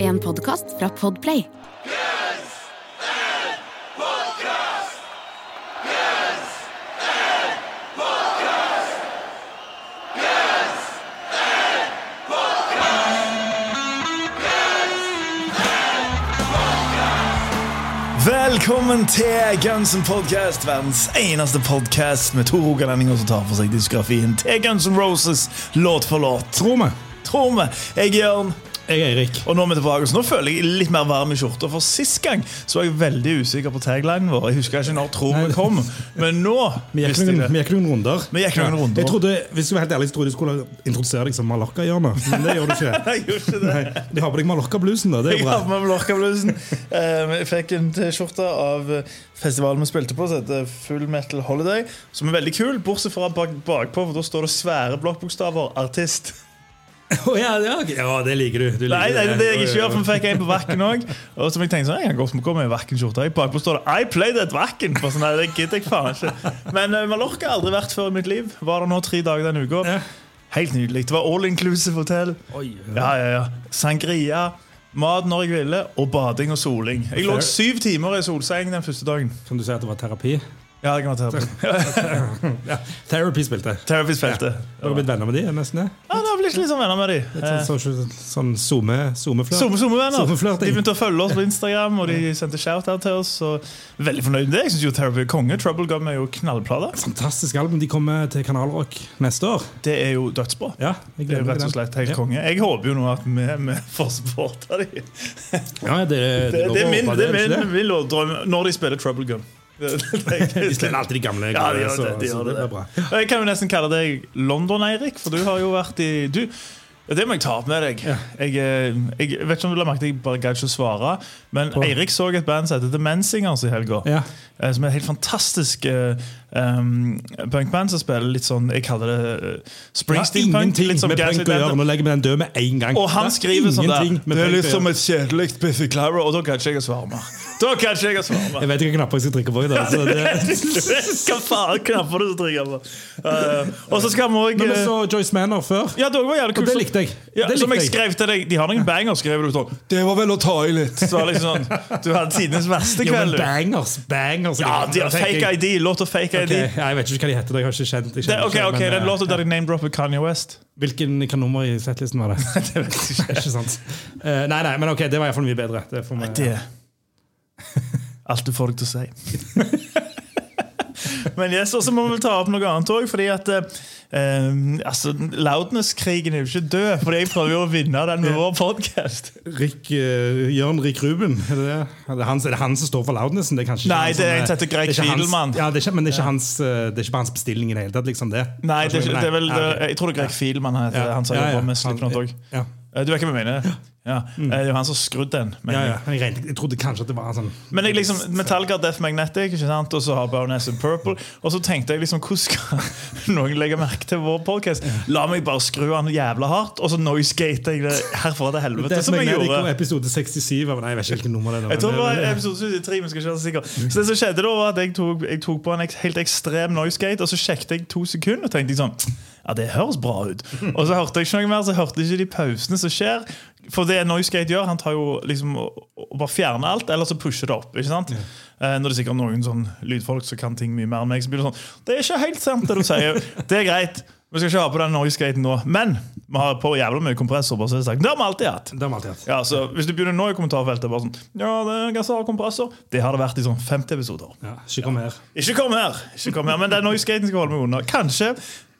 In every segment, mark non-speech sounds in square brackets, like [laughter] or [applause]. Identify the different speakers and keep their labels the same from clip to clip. Speaker 1: En podkast fra Podplay.
Speaker 2: Velkommen til Guns N' Podcast, verdens eneste podcast med to rogalendinger som tar for seg diskografien til Guns N' Roses låt for låt.
Speaker 3: Tror vi.
Speaker 2: Tror vi. Jeg er Jørn,
Speaker 3: Jeg er Eirik.
Speaker 2: og nå er vi tilbake. Så nå føler jeg litt mer varm i skjorta, for sist gang så var jeg veldig usikker på taglinen vår. Jeg husker ikke når Tror vi kom, men nå
Speaker 3: Vi gikk
Speaker 2: visste
Speaker 3: noen,
Speaker 2: jeg
Speaker 3: vi
Speaker 2: det. [laughs]
Speaker 3: gikk noen runder.
Speaker 2: Vi gikk noen
Speaker 3: Ja.
Speaker 2: runder.
Speaker 3: Jeg trodde, hvis jeg skal være helt ærlig, så trodde jeg skulle introdusere deg som
Speaker 2: [laughs]
Speaker 3: Mallorca-hjørnet, men det gjør du ikke.
Speaker 2: Jeg gjorde ikke det.
Speaker 3: Nei, de har på deg Mallorca-blusen, da. Det er
Speaker 2: Jeg
Speaker 3: jo bra.
Speaker 2: har med Mallorca-blusen. Eh, Jeg fikk en T-skjorte av eh, festivalen vi spilte på, som heter Full Metal Holiday. Som er veldig kul, bortsett fra bak, bakpå, for da står det svære blokkbokstaver 'artist'. [laughs]
Speaker 3: Å, ja, ja, ok. ja, det liker du. du liker
Speaker 2: Nei, nei, det er det jeg ikke gjør, for vi fikk en på Vakken òg. Og som jeg tenkte sånn, jeg kan godt gå med Vakken-skjorte. Bakpå står det 'I played at Vakken'. For sånn, nei, det gidder jeg faen ikke. Men eh, Mallorca har aldri vært før i mitt liv. Var det nå tre dager den uka.
Speaker 3: Ja.
Speaker 2: Helt nydelig. Det var all inclusive hotell. Ja, ja, ja. Sangria, mat når jeg ville, og bading og soling. Jeg lå
Speaker 3: Fair.
Speaker 2: syv timer i solseng den første dagen.
Speaker 3: Kan du si at det var terapi?
Speaker 2: Ja, jeg kan være terapi.
Speaker 3: Ja, Therapy spilte.
Speaker 2: Therapy-speltet.
Speaker 3: Har du blitt venner med de, nesten? det?
Speaker 2: Ja, det har blitt litt sånn venner med de.
Speaker 3: Sånn, sånn, sånn, sånn zoome- zoomeflørt?
Speaker 2: Sommervenner.
Speaker 3: Sommerflørting.
Speaker 2: De begynte å følge oss på Instagram, og de sendte shout-out til oss. Og veldig fornøyd med det. Jeg synes jo Therapy er konge. Trouble ga meg jo knallplater.
Speaker 3: Fantastisk album. De kommer til Kanal Rock neste år.
Speaker 2: Det er jo dødsbra.
Speaker 3: Ja,
Speaker 2: Det er
Speaker 3: jeg
Speaker 2: jo
Speaker 3: gleder
Speaker 2: rett
Speaker 3: meg
Speaker 2: og
Speaker 3: til den.
Speaker 2: slett helt
Speaker 3: Ja.
Speaker 2: konge. Jeg håper jo nå at vi, vi får supporta de. Det,
Speaker 3: Ja, det, det,
Speaker 2: det,
Speaker 3: lover
Speaker 2: er min,
Speaker 3: bra,
Speaker 2: det er
Speaker 3: ikke
Speaker 2: min, min låtdrøm når de spiller Trouble Gun. Det, det, det,
Speaker 3: De spiller alltid de gamle.
Speaker 2: Ja, de gjør
Speaker 3: så-
Speaker 2: det, de
Speaker 3: så
Speaker 2: gjør
Speaker 3: det
Speaker 2: det.
Speaker 3: blir bra.
Speaker 2: Og Jeg Eh, kan jo nesten kalle deg London-Eirik, for du har jo vært i du, ja, Det må jeg ta opp med deg.
Speaker 3: Ja.
Speaker 2: Jeg, eh, jeg vet ikke om du la merke til, jeg bare gadd ikke å svare. Men
Speaker 3: På-
Speaker 2: Eirik så et band som heter The Mansingers i helga.
Speaker 3: Ja.
Speaker 2: eh, Som er et helt fantastisk eh, um, punkband som spiller litt sånn Jeg kaller det eh, Springsteen-punk.
Speaker 3: ingenting
Speaker 2: Litt som
Speaker 3: med punk å
Speaker 2: Gaslight
Speaker 3: gjøre.
Speaker 2: Anthem.
Speaker 3: Nå legger vi den død med en gang.
Speaker 2: Og han
Speaker 3: Det er
Speaker 2: skriver sånn der.
Speaker 3: ingenting med
Speaker 2: Det er
Speaker 3: punk
Speaker 2: litt
Speaker 3: å
Speaker 2: som
Speaker 3: gjøre.
Speaker 2: et kjedelig Biffy Clara, og da gadd ikke jeg å svare mer. Da gadd ikke jeg å svare mer.
Speaker 3: Jeg vet ikke hvilke knapper jeg skal trykke på i dag. Så [laughs] det...
Speaker 2: [laughs] Hva faen knapper du som trykker på? Eh, og så skal vi eh,
Speaker 3: Men vi
Speaker 2: òg
Speaker 3: så Joyce Manor før.
Speaker 2: ja, det var jævlig
Speaker 3: Og
Speaker 2: kult.
Speaker 3: det likte jeg.
Speaker 2: Ja,
Speaker 3: Det
Speaker 2: som jeg
Speaker 3: likte jeg.
Speaker 2: skrev til deg. De har noen banger, skrev du sånn.
Speaker 3: Det var vel å ta i litt.
Speaker 2: Så var det liksom sånn Du hadde tidenes verste
Speaker 3: Jo, men
Speaker 2: kveld. du.
Speaker 3: bangers, bangers.
Speaker 2: Ja, de har
Speaker 3: Da tenker
Speaker 2: fake
Speaker 3: jeg-
Speaker 2: ID. Låt og fake
Speaker 3: Ok,
Speaker 2: ID.
Speaker 3: ja, jeg vet ikke hva de heter. Jeg har ikke kjent, jeg
Speaker 2: Det,
Speaker 3: kjenner
Speaker 2: ok,
Speaker 3: ikke,
Speaker 2: ok,
Speaker 3: men,
Speaker 2: Den
Speaker 3: eh,
Speaker 2: låta der de name-dropper Kanye West.
Speaker 3: Hvilken hvilken nummer i settlisten [laughs] var det? det vet jeg ikke. ikke sant? Eh, nei, nei, men ok, det var iallfall mye bedre. Det får vi-
Speaker 2: Det er alt du får deg til å si. Men yes, og så må vi vel ta opp noe annet òg. Fordi at eh, altså, Loudness-krigen er jo ikke død. Fordi jeg prøver jo å vinne den med vår podkast.
Speaker 3: Rick, eh, Jørn Rik Ruben. Er det, det? er, det han, er det han som står for loudnessen? Det er kanskje ikke
Speaker 2: Nei,
Speaker 3: han
Speaker 2: det
Speaker 3: som
Speaker 2: er en
Speaker 3: er-
Speaker 2: som heter Greg
Speaker 3: det er ikke hans-
Speaker 2: Fiedelmann.
Speaker 3: Ja, det er ikke, men det er, ikke hans, eh, det er ikke på hans bestilling i det hele tatt? liksom det
Speaker 2: Nei, det er, ikke- det er vel,
Speaker 3: Ja, ok.
Speaker 2: det- jeg tror det er Greg Fielmann han heter.
Speaker 3: Ja.
Speaker 2: Han som
Speaker 3: Ja, ja.
Speaker 2: jobber med Slipknot
Speaker 3: Han-
Speaker 2: òg.
Speaker 3: Ja.
Speaker 2: Eh, Du vet ikke hva jeg mener? Ja. Eh, Det er jo han som har skrudd den. Men,
Speaker 3: Mm. Ja, ja. Jeg, regnet, jeg trodde kanskje at det var sånn
Speaker 2: men jeg liksom, Metallica, Death Magnetic ikke sant? og så har Baroness in Purple. Og så tenkte jeg liksom, hvordan skal [laughs] noen legge merke til vår podcast? La meg bare skru han jævla hardt, og så noisegater jeg det herfra til helvete.
Speaker 3: Death
Speaker 2: som jeg
Speaker 3: Magnetic og
Speaker 2: gjorde
Speaker 3: episode 67 av Nei, jeg vet ikke hvilket nummer det er.
Speaker 2: jeg tror det var episode 73, men skal ikke være så sikker. Så det som skjedde da var at jeg tok, jeg tok på en ek- helt ekstrem noisegate, og så sjekket jeg to sekunder og tenkte jeg sånn Ja, det høres bra ut. Og så hørte jeg ikke noe mer, så hørte jeg ikke de pausene som skjer. For det noisegate gjør, han tar jo liksom og og bare fjerner alt, eller så pusher det opp. ikke sant? Eh, Når det er sikkert noen sånn lydfolk som kan ting mye mer enn meg, så blir det sånn Det er ikke helt sant, det du sier. Det er greit. Vi skal ikke ha på den noisegaten nå. Men vi har på jævla mye kompressor. bare så det er sagt. Det har vi alltid hatt.
Speaker 3: Det har vi alltid hatt.
Speaker 2: Ja, så Hvis du begynner nå i kommentarfeltet bare sånn, Ja, det er gasser og kompressor Det har det vært i sånn 50 episoder.
Speaker 3: Ja, ikke kom her.
Speaker 2: Ikke kom her! ikke kom her, Men den noisegaten skal jeg holde meg unna. Kanskje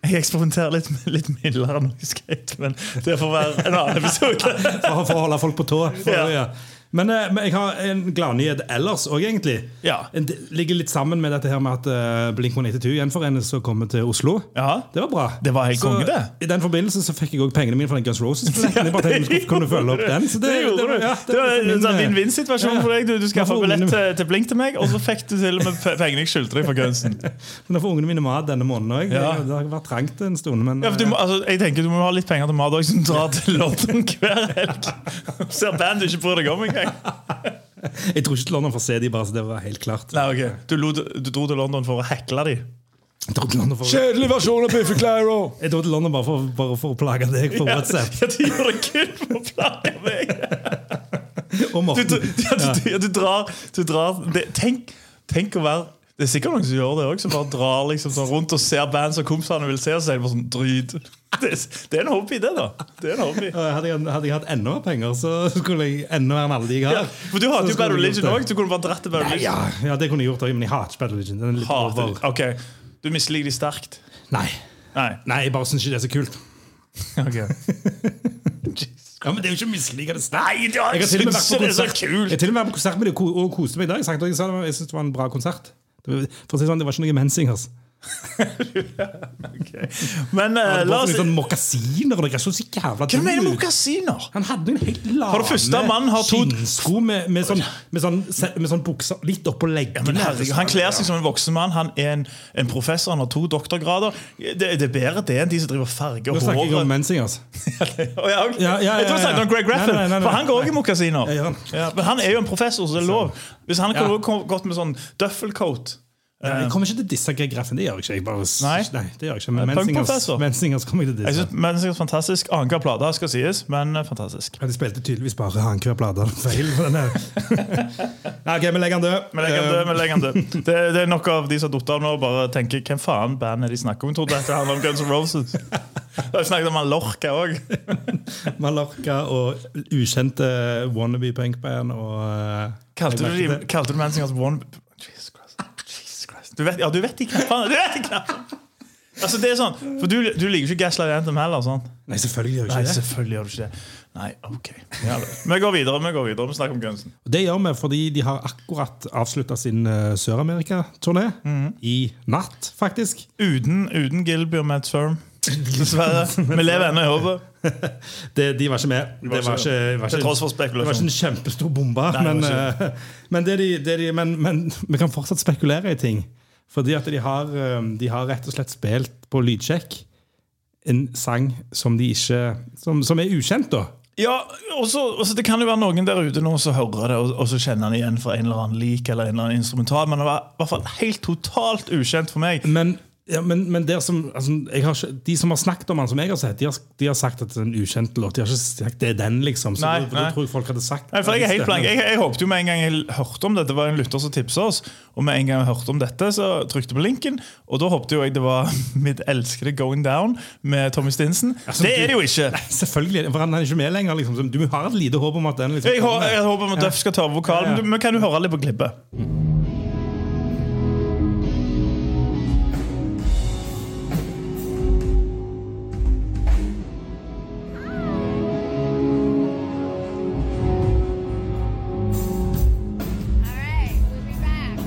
Speaker 2: jeg eksperimenterer litt med litt mildere noisegate, men det får være en annen episode.
Speaker 3: For, for å holde folk på tå. For,
Speaker 2: Ja.
Speaker 3: ja. Men, eh, men jeg har en gladnyhet ellers òg, egentlig.
Speaker 2: Ja.
Speaker 3: En- Det ligger litt sammen med dette her med at eh, Blink-182 gjenforenes og kommer til Oslo.
Speaker 2: Ja.
Speaker 3: Det var bra.
Speaker 2: Det var helt
Speaker 3: så,
Speaker 2: konge, det.
Speaker 3: I den forbindelse så fikk jeg òg pengene mine fra den Guns Roses-billetten. Jeg bare tenkte vi skulle kunne følge opp den. Så
Speaker 2: Det gjorde du.
Speaker 3: var- ja,
Speaker 2: Det var en
Speaker 3: min,
Speaker 2: sånn
Speaker 3: eh,
Speaker 2: vinn-vinn-situasjon
Speaker 3: ja, ja.
Speaker 2: for deg. Du, du skaffa
Speaker 3: Nå får
Speaker 2: billett
Speaker 3: ungene-
Speaker 2: til, til Blink til meg, og så fikk du til og med pe- pengene jeg skyldte deg for kunsten.
Speaker 3: Nå får ungene mine mat denne måneden òg.
Speaker 2: Ja.
Speaker 3: Det har vært trangt en stund. Men, eh,
Speaker 2: Ja, for du må, altså, jeg tenker du må ha litt penger til Mardøy som drar til London hver helg. Ser band du ikke bryr deg om engang.
Speaker 3: eh, jeg tror ikke London får se de bare, så det var helt klart.
Speaker 2: Nei, ok. Du, lo, du dro til London for å hekle de
Speaker 3: Jeg dro til London for,
Speaker 4: Kjedelig versjon av Biffy Clyro!
Speaker 3: jeg dro til London bare for, bare for å plage deg på WhatsApp.
Speaker 2: Ja, de gjør det kun for å plage meg.
Speaker 3: Og
Speaker 2: Du, du,
Speaker 3: Morten.
Speaker 2: ja, du, du, ja, du drar, du drar det, tenk, tenk å være Det er sikkert noen som gjør det òg, som bare drar liksom sånn rundt og ser band som kompisene vil se, og så er det bare sånn dryt. Det, er- det er en hobby, det, da. Det er en hobby.
Speaker 3: Og Hadde jeg, hadde jeg hatt enda mer penger, så [laughs] skulle jeg enda mer enn alle de jeg
Speaker 2: Ja,
Speaker 3: har.
Speaker 2: for du hadde jo
Speaker 3: Så skulle
Speaker 2: Battle
Speaker 3: jeg gjort
Speaker 2: Legion
Speaker 3: det.
Speaker 2: òg. Du kunne bare dratt til Battle
Speaker 3: Ja,
Speaker 2: Legion.
Speaker 3: ja, det kunne jeg gjort òg, men jeg hater Battle Legion. Den er litt
Speaker 2: Hater-
Speaker 3: over.
Speaker 2: Ok, Du misliker de sterkt?
Speaker 3: Nei.
Speaker 2: Nei.
Speaker 3: [laughs] Nei, jeg bare syns ikke det er så kult.
Speaker 2: Okay.
Speaker 3: Ja, men det er jo ikke mislikende
Speaker 2: Nei, du har
Speaker 3: Jeg har til og med vært på
Speaker 2: det er så
Speaker 3: konsert, jeg
Speaker 2: kult!
Speaker 3: har til og med vært på konsert med dem ko- og koste meg i dag. Jeg, jeg, sa det var- jeg synes det var en bra konsert. Det var, for å si det sånn, det var ikke noe
Speaker 2: Eh,
Speaker 3: mensingers.
Speaker 2: Men eh,
Speaker 3: Det
Speaker 2: la
Speaker 3: var
Speaker 2: oss
Speaker 3: sånn mokasiner og noe så jævla
Speaker 2: Hva mener du med
Speaker 3: ut.
Speaker 2: mokasiner?
Speaker 3: Han hadde en helt lame
Speaker 2: For det første, mannen har to-
Speaker 3: skinnsko med, med, sånn, med, sånn, se- med sånn bukser litt oppå leggene.
Speaker 2: Men herregud, han kler seg som en voksen mann. Han er en, en professor, han har to doktorgrader. Det, det er bedre det enn de som driver og farger
Speaker 3: Nå snakker jeg om altså.
Speaker 2: håret.
Speaker 3: mensingers.
Speaker 2: [laughs] Å, ja, ok.
Speaker 3: Ja, ja, ja,
Speaker 2: Jeg tror du
Speaker 3: ja,
Speaker 2: snakket om Greg
Speaker 3: ja.
Speaker 2: Graffin,
Speaker 3: Nei, nei, nei, nei.
Speaker 2: for han går også i mokasiner.
Speaker 3: Ja, gjør han.
Speaker 2: Ja, men han er jo en professor, så det er lov. Hvis han kunne
Speaker 3: Ja.
Speaker 2: også kom- gått med sånn duffelcoat
Speaker 3: Nei, Jeg kommer ikke til å disse Greg Graffen. Det gjør jeg ikke. Jeg bare, s-
Speaker 2: Nei.
Speaker 3: Nei, det gjør jeg ikke. Men
Speaker 2: Nei,
Speaker 3: mensingers,
Speaker 2: punkprofessor.
Speaker 3: mensingers kommer jeg til
Speaker 2: Jeg
Speaker 3: å disse.
Speaker 2: synes, men det er fantastisk. Annenhver plate skal sies, men eh, fantastisk.
Speaker 3: Ja, de spilte tydeligvis bare annenhver plate. Feil på den her. [laughs] Nei, ok, vi legger den død.
Speaker 2: Vi legger han død, vi legger han
Speaker 3: [laughs]
Speaker 2: død. Det, det er nok av de som har datt av nå, og bare tenker hvem faen bandet de snakker om. Jeg trodde dette handlet om Guns N'
Speaker 3: [laughs]
Speaker 2: Roses. Da snakket om han Lorca òg.
Speaker 3: Eh, Mallorca og ukjente wannabe punkband og eh,
Speaker 2: Kalte
Speaker 3: jeg
Speaker 2: du,
Speaker 3: merket
Speaker 2: de, kalte du Mansingers One Jesus Christ. Jesus Christ. Du vet, ja, du vet de knappene! Du vet de knappene. Altså, det er sånn, for du, du liker ikke Gaslight Anthem heller? sånn?
Speaker 3: det. Nei, selvfølgelig gjør
Speaker 2: Nei,
Speaker 3: jeg ikke det.
Speaker 2: selvfølgelig gjør du ikke det. Nei, ok. Ja, da. vi går videre. Vi går videre, vi snakker om Gunsen.
Speaker 3: Og Det gjør vi fordi de har akkurat avslutta sin eh, Sør-Amerika-turné. I natt, faktisk.
Speaker 2: Uten, uten Gilby og Matt Firm. Dessverre. Vi lever ennå i håpet.
Speaker 3: Det, de var ikke med. Det var ikke, var ikke,
Speaker 2: Til tross for
Speaker 3: det var ikke
Speaker 2: spekulasjon.
Speaker 3: en kjempestor bombe.
Speaker 2: Nei, det
Speaker 3: Men,
Speaker 2: var ikke
Speaker 3: eh, men, det de, det de, men, men vi kan fortsatt spekulere i ting. Fordi at de har, eh, de har rett og slett spilt på lydsjekk en sang som de ikke Som, som er ukjent, da.
Speaker 2: Ja, og så- og så Det kan jo være noen der ute nå som hører det, og, og så kjenner han igjen fra en eller annen lik eller en eller annen instrumental, men det var i hvert fall helt totalt ukjent for meg.
Speaker 3: Men, ja, men, men der som, altså, jeg har ikke, de som har snakket om han som jeg har sett, de har, de har sagt at det er en ukjent låt. De har ikke sagt det er den, liksom. Så
Speaker 2: Nei,
Speaker 3: da-
Speaker 2: nei.
Speaker 3: da tror jeg folk hadde sagt
Speaker 2: Nei, for Jeg er helt
Speaker 3: det.
Speaker 2: blank. Jeg, jeg håpet jo med en gang jeg hørte om det, det var en lytter som tipsa oss, og med en gang jeg hørte om dette, så trykte jeg på linken, og da håpte jo jeg det var [laughs] mitt elskede Going Down med Tommy Stinson.
Speaker 3: Altså,
Speaker 2: det
Speaker 3: du-
Speaker 2: er det jo ikke!
Speaker 3: Nei, selvfølgelig, for han er ikke med lenger. Liksom. Så Du har et lite håp om at den liksom,
Speaker 2: Jeg, hå- jeg håper at Duff skal ta over vokalen,
Speaker 3: Ja, ja.
Speaker 2: men du- men kan du høre litt på klippet?
Speaker 5: All right, we'll be back.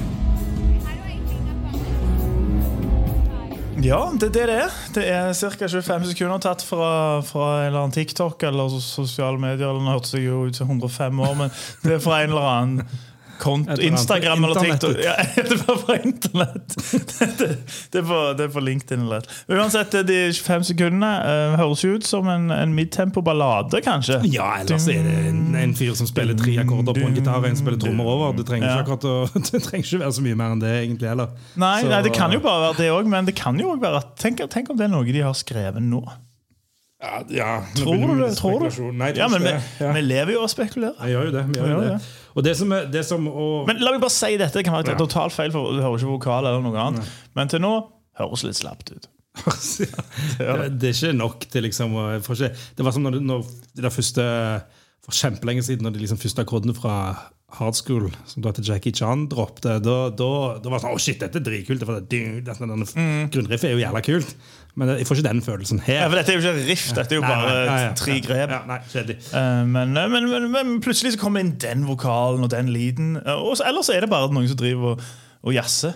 Speaker 5: How do I hang up on this?
Speaker 2: Ja, det er det det er. Det er ca. 25 sekunder tatt fra, fra en eller annen TikTok eller sos- sosiale medier. eller Den hørtes jeg jo ut som 105 år, men det er fra en eller annen konto,
Speaker 3: Et eller annet
Speaker 2: Instagram eller TikTok.
Speaker 3: internettet.
Speaker 2: Ja, [laughs] det var fra internett. Det, det, det, er på, det er på LinkedIn eller et. Men Uansett, de 25 sekundene eh, høres jo ut som en, en midtempo ballade, kanskje.
Speaker 3: Ja, ellers er det en, en fyr som spiller tre akkorder på en gitar og en spiller trommer over. Det trenger,
Speaker 2: Ja.
Speaker 3: ikke akkurat å, [laughs] det trenger ikke være så mye mer enn det, egentlig. heller
Speaker 2: Nei,
Speaker 3: Så-
Speaker 2: nei, det kan jo bare være det òg, men det kan jo også være at tenk, tenk om det er noe de har skrevet nå.
Speaker 3: Ja, ja, nå
Speaker 2: Tror
Speaker 3: begynner vi
Speaker 2: du
Speaker 3: med
Speaker 2: det? Tror du?
Speaker 3: spekulasjon. Nei, jeg tror
Speaker 2: ja, men vi,
Speaker 3: ikke det. Ja.
Speaker 2: vi lever jo og spekulerer.
Speaker 3: Jeg gjør jo det. Vi gjør
Speaker 2: Ja,
Speaker 3: jo
Speaker 2: ja.
Speaker 3: det. Og det som, er, det som og,
Speaker 2: Men la meg bare si dette. Det kan være
Speaker 3: Ja.
Speaker 2: totalt feil, for du hører ikke vokal eller noe annet. Men til nå høres litt slapt ut.
Speaker 3: det, det er ikke nok til liksom å- jeg får ikke, Det var som når, du- når det der første For kjempelenge siden, når de liksom første akkordene fra Hard School, som da til Jackie Chan droppte, da, da, da var det sånn Å, shit, dette er dritkult! Det var sånn, det, du, dette, denne, Grunnriffet er jo jævla kult, men jeg får ikke den følelsen
Speaker 2: Mm.
Speaker 3: her.
Speaker 2: Ja, for dette er jo ikke et riff, dette er jo
Speaker 3: Nei, nei,
Speaker 2: bare
Speaker 3: nei, ja,
Speaker 2: tre
Speaker 3: ja,
Speaker 2: grep.
Speaker 3: Ja, nei, kjedelig.
Speaker 2: Eh, Men, men, men, men plutselig så kommer inn den vokalen og den lyden. eh, Og så, ellers er det bare noen som driver og, og jazzer.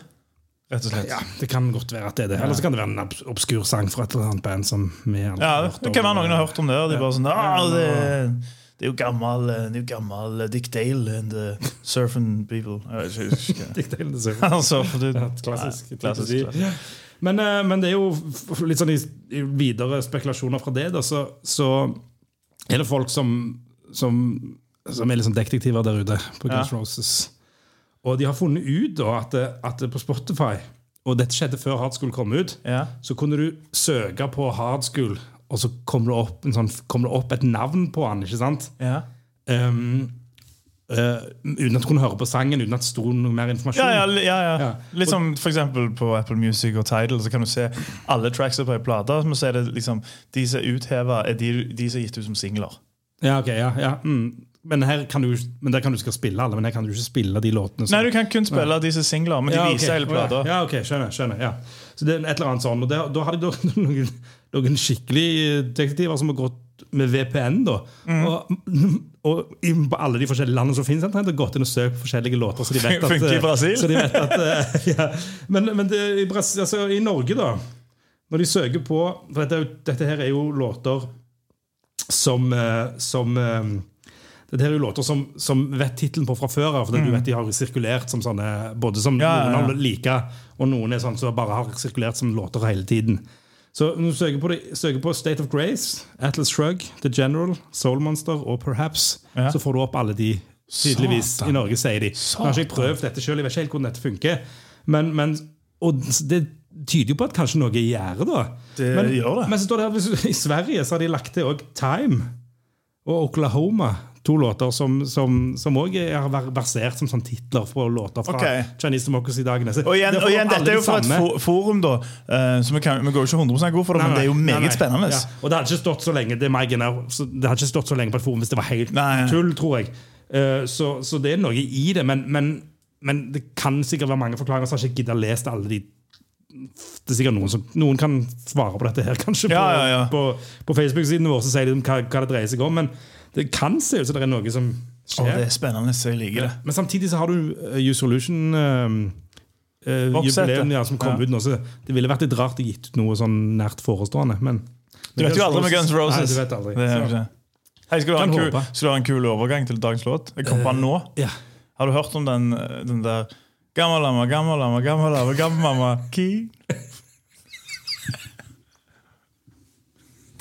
Speaker 2: Rett og slett.
Speaker 3: Ja, det kan godt være at det er det. Eller så kan det være en obs- obskur sang fra et eller annet band som vi aldri
Speaker 2: Ja,
Speaker 3: har hørt
Speaker 2: det kan være
Speaker 3: om.
Speaker 2: noen har hørt om det, og de
Speaker 3: Ja.
Speaker 2: bare sånn ah, det, det er jo gammel, eh, det er jo gammel eh, Dick Dale and the Surfing People. Jeg vet ikke, [laughs] jeg
Speaker 3: Dick Dale, [laughs] det ser vi.
Speaker 2: husker. altså, for du,
Speaker 3: Ja, klassisk,
Speaker 2: Nei,
Speaker 3: klassisk, Men, eh, men det er jo f- litt sånn i i videre spekulasjoner fra det, da, så, så er det folk som, som, som er liksom detektiver der ute på Guns
Speaker 2: Ja.
Speaker 3: Roses. Og de har funnet ut da at, det- at det på Spotify og dette skjedde før Hard School kom ut,
Speaker 2: Ja.
Speaker 3: så kunne du søke på Hard School, og så kom det opp, en sånn, kom det opp et navn på han, ikke sant?
Speaker 2: Ja.
Speaker 3: Ehm, eh, uten at du kunne høre på sangen, uten at det sto noe mer informasjon.
Speaker 2: Ja, ja, li- ja, ja.
Speaker 3: Ja.
Speaker 2: Litt som for eksempel på Apple Music og Tidal så kan du se alle tracksa på ei plate. Men så er det liksom de som er utheva, er de, de som er gitt ut som singler.
Speaker 3: Ja, ok, ja, ja. Mm. Men her kan du, men der kan du skal spille alle, men her kan du ikke spille de låtene. som-
Speaker 2: Nei, du kan kun spille de som er singler, men de
Speaker 3: Ja, ok.
Speaker 2: viser hele plata.
Speaker 3: Ja, ok, skjønner, skjønner ja. Så det er et eller annet sånn Og det, da [laughs] hadde jeg da noen, noen skikkelig eh, detektiver som har gått med VPN da
Speaker 2: Mm.
Speaker 3: og, [laughs] og inn på alle de forskjellige landene som finnes omtrent, og gått inn og søkt på forskjellige låter så de vet at,
Speaker 2: [laughs] Funker i Brasil?
Speaker 3: Så de vet at eh, [laughs] ja. Men, men det, i, Brasil, altså, i Norge da Når de søker på For dette, er jo- dette her er jo låter som, eh, som eh, Dette her er jo låter som, som vet tittelen på fra før av. For du vet de har jo sirkulert som sånne Både som
Speaker 2: Mm. Ja, ja, ja.
Speaker 3: noen har lika, og noen er sånn som bare har sirkulert som låter hele tiden. Så når du søker på, det, søker på State of Grace, Atlas Shrug, The General, Soul Monster og Perhaps,
Speaker 2: Ja.
Speaker 3: så får du opp alle de, tydeligvis.
Speaker 2: Satan.
Speaker 3: I Norge, sier de. Nå har ikke jeg prøvd dette sjøl, jeg vet ikke helt hvordan dette funker. Men, men, og det tyder jo på at kanskje noe er i gjære, da.
Speaker 2: Det
Speaker 3: men,
Speaker 2: Eh, gjør det.
Speaker 3: men så står det her, hvis du- i Sverige så har de lagt til òg Time og Oklahoma. To låter som, som, som også er- har vært versert som sånn titler på låter fra
Speaker 2: Ok.
Speaker 3: Chinese Democracy-dagene. Så
Speaker 2: Og igjen,
Speaker 3: derfor
Speaker 2: og igjen
Speaker 3: alle
Speaker 2: dette er jo
Speaker 3: de
Speaker 2: fra et
Speaker 3: samme-
Speaker 2: fo- forum, da. eh, Så vi, kan, vi går jo ikke 100 god for det,
Speaker 3: Nei,
Speaker 2: men det er jo
Speaker 3: nei,
Speaker 2: meget
Speaker 3: nei.
Speaker 2: spennende.
Speaker 3: Ja. Og det hadde ikke stått så lenge det, er meg, Gunnar, så det hadde ikke stått så lenge på et forum hvis det var helt
Speaker 2: Nei.
Speaker 3: tull, tror jeg. Eh, så, så det er noe i det, men, men, men det kan sikkert være mange forklaringer. Så har jeg ikke giddet å lese alle de Det er sikkert noen som Noen kan svare på dette her, kanskje, på,
Speaker 2: Ja, ja, ja.
Speaker 3: på, på Facebook-siden vår, så sier de om hva, hva det dreier seg om, men det kan se ut som det er noe som
Speaker 2: Å,
Speaker 3: skjer.
Speaker 2: det er spennende. så Jeg liker det.
Speaker 3: Men samtidig så har du uh, U-Solution eh, eh,
Speaker 2: Boxsettet.
Speaker 3: jubileum ja, som kom
Speaker 2: Ja.
Speaker 3: ut nå, så det ville vært litt rart å gitt ut noe sånn nært forestående. Men
Speaker 2: Du vet jo aldri med Guns N' Roses.
Speaker 3: Nei, du vet aldri.
Speaker 2: Det er jo
Speaker 3: Så,
Speaker 2: ikke- Hei, skal, du ha en
Speaker 3: Kan
Speaker 2: kul,
Speaker 3: håpe. Eh,
Speaker 2: skal du ha en kul overgang til dagens låt? Jeg kom på den nå.
Speaker 3: ja.
Speaker 2: Har du hørt om den, den der Gammel mamma, gammel mamma, gammel mamma, gammel mamma ki?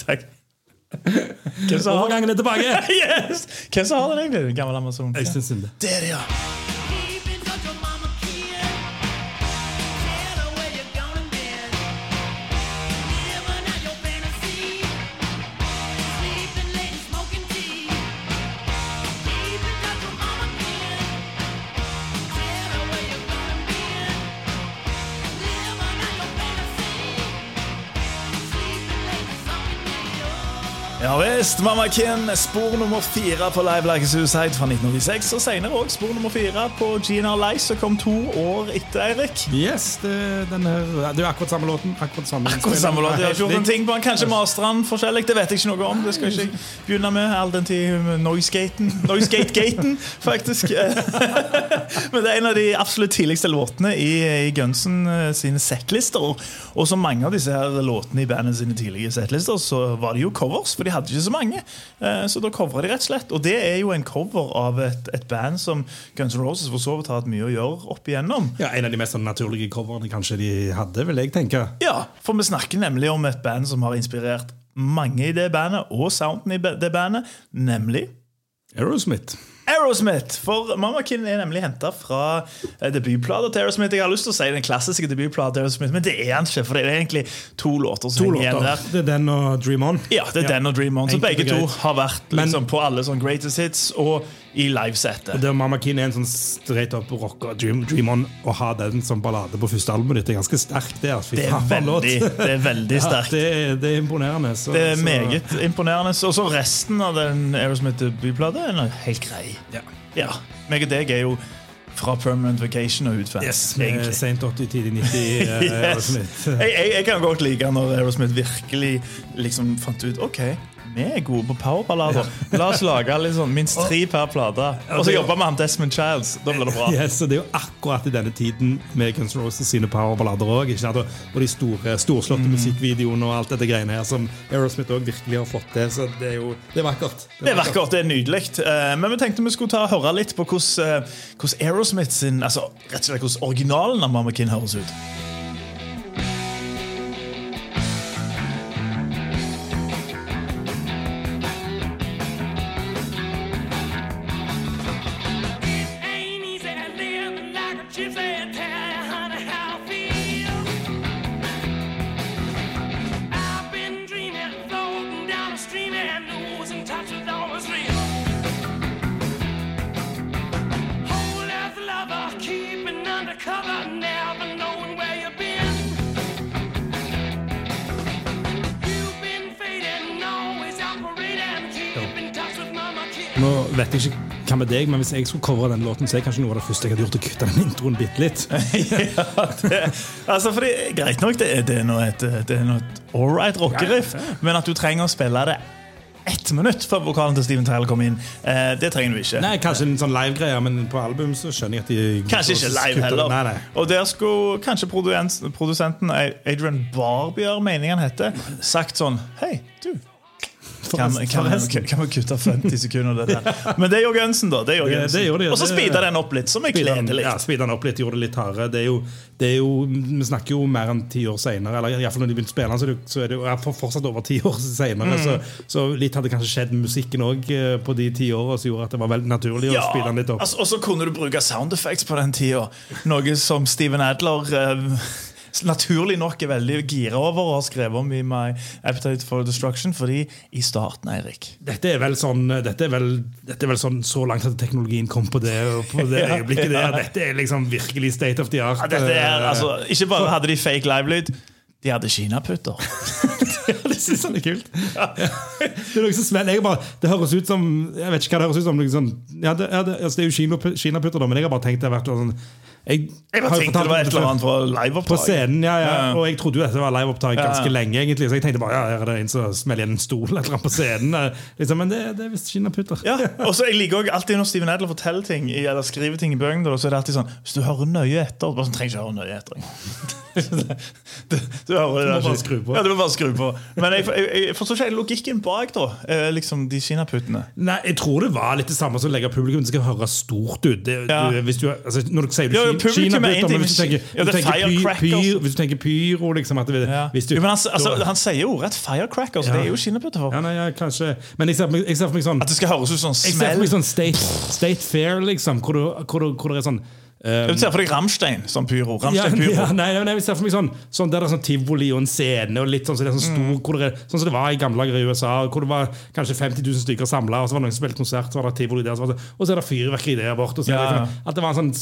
Speaker 2: Takk. Hvem som har den?
Speaker 3: Overgangen er tilbake!
Speaker 2: [laughs] Yes! Hvem som har den egentlig? Gammel mamma som
Speaker 3: Jeg syns synd det.
Speaker 2: Det er det, ja!
Speaker 4: Keep in touch with Mama Kia. Tell her where you're gonna be. Living out your fantasy. Sleeping late and smoking tea. Keep in touch with Mama Kia. Tell her where you're gonna be. Living out your fantasy. Sleeping late and smoking tea. Oh.
Speaker 2: Ja visst, Mamma Ken, spor nummer fire på Live Like a Suicide fra 1996. Og senere òg spor nummer fire på GNR Lice, som kom to år etter Eirik.
Speaker 3: Yes, det, den her, det er jo akkurat samme låten. Akkurat samme
Speaker 2: Akkurat samme låt. Jeg har ikke gjort noen ting på den. Kanskje master han forskjellig. Det vet jeg ikke noe om. Det skal ikke jeg begynne med. All den tid med Noisegaten. Noisegategaten, faktisk. [laughs] Men det er en av de absolutt tidligste låtene i, i Gunsen eh, sine settlister. Og som mange av disse her låtene i bandet sine tidlige settlister, så var det jo covers, for de hadde ikke så mange. Eh, Så da covra de rett og slett. Og det er jo en cover av et, et band som Guns N' Roses for så vidt har hatt mye å gjøre opp igjennom.
Speaker 3: Ja, En av de mest sånn naturlige coverne kanskje de hadde, vil jeg tenke.
Speaker 2: Ja, for vi snakker nemlig om et band som har inspirert mange i det bandet, og sounden i ba- det bandet, nemlig
Speaker 3: Aerosmith.
Speaker 2: Aerosmith! For Mamakin er nemlig henta fra eh, debutplata til Aerosmith. Jeg har lyst til å si den klassiske debutplata til Aerosmith, men det er han ikke. For det er egentlig to låter som
Speaker 3: To
Speaker 2: henger igjen
Speaker 3: låter.
Speaker 2: der.
Speaker 3: Det er den og Dream On.
Speaker 2: Ja, det er den og Dream On. Så
Speaker 3: Enkelt og
Speaker 2: begge to
Speaker 3: greit.
Speaker 2: har vært
Speaker 3: Men-
Speaker 2: liksom, på alle sånn greatest hits og i livesettet.
Speaker 3: Der Mama Keen er en sånn straight up rocker. Dream, dream on Å ha den som ballade på første albumet ditt er ganske sterkt. Det, altså. Fy
Speaker 2: Det er
Speaker 3: faen, for en låt.
Speaker 2: veldig, [laughs] det er veldig
Speaker 3: [laughs] Ja,
Speaker 2: sterkt.
Speaker 3: det, er- altså- det er imponerende. Så,
Speaker 2: Det er
Speaker 3: så-
Speaker 2: meget imponerende. Og så resten av den Aerosmith-debutplata er noe helt grei.
Speaker 3: Ja.
Speaker 2: Ja. Meg og deg er jo fra Permanent Vacation og utfans.
Speaker 3: Yes, med
Speaker 2: egentlig.
Speaker 3: [laughs] sent 80, Eh, tidlig 90.
Speaker 2: [laughs]
Speaker 3: eh,
Speaker 2: Yes.
Speaker 3: Aerosmith.
Speaker 2: Jeg, jeg, jeg kan godt like når Aerosmith virkelig liksom fant ut OK, vi er gode på powerballader. La oss lage litt sånn minst tre per plate. Og så jobbe med han Desmond Childs. Da blir det
Speaker 3: [laughs]
Speaker 2: bra.
Speaker 3: Yes, og det er jo akkurat i denne tiden med Guns N' Roses sine powerballader òg. Og de store, storslåtte
Speaker 2: Mm.
Speaker 3: musikkvideoene og alt dette greiene her som Aerosmith også virkelig har fått til. Så det er jo det er vakkert.
Speaker 2: Det er vakkert, det er nydelig. Eh, Men vi tenkte vi skulle ta og høre litt på hvordan eh, hvordan Aerosmith sin Altså rett og slett hvordan originalen av Mamma Kinn høres ut.
Speaker 4: Ain't easy living like a gypsy. Tell you, honey, how I feel.
Speaker 3: Nå vet jeg ikke hva med deg, men hvis jeg skulle covre den låten, så er kanskje noe av det første jeg hadde gjort å kutte den introen bitte litt.
Speaker 2: [laughs] ja, det, altså fordi, Greit nok, det, er- det er nå et, det er nå et ålreit rockeriff, men at du trenger å spille det ett minutt før vokalen til Steven Tyler kommer inn, eh, det trenger du ikke.
Speaker 3: Nei, kanskje en sånn live-greie, men på album så skjønner jeg at de
Speaker 2: Kanskje ikke live
Speaker 3: kutter-
Speaker 2: heller.
Speaker 3: Nei, nei.
Speaker 2: Og der skulle kanskje produens- produsenten Adrian Barbier, mener jeg han heter, sagt sånn Hei, du. Kan,
Speaker 3: Forresten,
Speaker 2: kan, kan,
Speaker 3: forresten.
Speaker 2: kan vi kutte 50 sekunder? Det der? Men det gjør Gunsen, da. Det gjør
Speaker 3: Det- det
Speaker 2: Gunsen.
Speaker 3: gjør det, ja.
Speaker 2: Og så
Speaker 3: Det-
Speaker 2: speeder den opp litt, som er
Speaker 3: Speeda den-
Speaker 2: gledelig.
Speaker 3: Ja, speeda den opp litt, gjorde det litt hardere. Det er jo, det er jo, vi snakker jo mer enn ti år senere, eller i hvert fall når de begynte å spille, så er det, jo- så er det jo ja, for- fortsatt over ti år
Speaker 2: Mm.
Speaker 3: senere. Så, så litt hadde kanskje skjedd med musikken òg på de ti åra, som gjorde at det var veldig naturlig å speede den litt opp.
Speaker 2: altså, og så kunne du bruke sound effects på den tida. Noe som Steven Adler eh, naturlig nok er veldig gira over og har skrevet om i My Appetite for Destruction. Fordi i starten, Eirik
Speaker 3: Dette er vel sånn Dette er vel, dette er vel sånn så langt at teknologien kom på det, på
Speaker 2: [laughs]
Speaker 3: det øyeblikket der. Dette er liksom virkelig state of the art. eh,
Speaker 2: Ja, dette er, altså, ikke bare hadde de fake livelyd, de hadde kinaputter.
Speaker 3: [laughs] det synes han er kult. Det er noe så svenn. Jeg bare, det høres ut som Jeg vet ikke hva det høres ut som. noe sånn- ja, det, ja, det, altså, det er jo kino- kinaputter, da, men jeg har bare tenkt det har vært sånn Jeg,
Speaker 2: Jeg bare
Speaker 3: har jo
Speaker 2: tenkte
Speaker 3: fortalt
Speaker 2: det var
Speaker 3: om
Speaker 2: et eller
Speaker 3: før.
Speaker 2: annet fra
Speaker 3: På
Speaker 2: liveoppdraget.
Speaker 3: scenen, ja, ja.
Speaker 2: Ja.
Speaker 3: Og jeg trodde jo dette var liveopptak ganske
Speaker 2: Ja.
Speaker 3: lenge, egentlig. Så jeg tenkte bare ja, her er det en som smeller igjen en stol eller noe på scenen. eh, Liksom, men det, det er visst kinaputter.
Speaker 2: Ja, og så Jeg liker også alltid når Steven Adler forteller ting i- eller skriver ting i bøkene. da, Så er det alltid sånn Hvis du hører nøye etter bare sånn, trenger ikke høre nøye etter. du, du, hører det
Speaker 3: Du må
Speaker 2: der
Speaker 3: bare
Speaker 2: ikke.
Speaker 3: skru på.
Speaker 2: Ja, du må bare skru på. Men jeg, jeg, jeg forstår ikke helt logikken bak da eh, liksom de kinaputtene.
Speaker 3: Nei, jeg tror det var litt det samme som å legge publikum. Det skal høres stort ut. Det,
Speaker 2: Ja.
Speaker 3: du, hvis du, altså, når du sier du
Speaker 2: Ja, ja,
Speaker 3: Ki-
Speaker 2: publikum er
Speaker 3: Kina-putter,
Speaker 2: en ting,
Speaker 3: men hvis du
Speaker 2: men ja,
Speaker 3: tenker,
Speaker 2: det
Speaker 3: hvis du
Speaker 2: er
Speaker 3: tenker py-
Speaker 2: firecrackers.
Speaker 3: pyr- Hvis du tenker pyro, liksom at det, hvis du,
Speaker 2: altså. jo, men han, s- altså,
Speaker 3: da-
Speaker 2: han sier jo rett 'firecrackers'. Det er jo kinaputter. for
Speaker 3: ja, nei, ja, kanskje Men jeg ser for meg, jeg ser for meg sånn
Speaker 2: At det skal høres ut som
Speaker 3: Jeg ser for
Speaker 2: smell.
Speaker 3: meg sånn State, state Fair, liksom, hvor, du, hvor, du, hvor det er sånn
Speaker 2: Du ser for deg Ramstein som pyro.
Speaker 3: ja,
Speaker 2: Rammstein pyro.
Speaker 3: [laughs] ja, nei, nei, nei, jeg ser for meg sånn, sånn Der det er sånn tivoli og en scene og litt sånn, så det er sånn
Speaker 2: Mm.
Speaker 3: stor hvor det er, Sånn som det var i gamle dager i USA, hvor det var kanskje 50 000 stykker samla, og så var det noen som spilte konsert, så var det tivoli der, så var det, sånn- og så er det fyrverkeri der borte. og så er
Speaker 2: Ja,
Speaker 3: det
Speaker 2: ja.
Speaker 3: liksom- At det var en sånn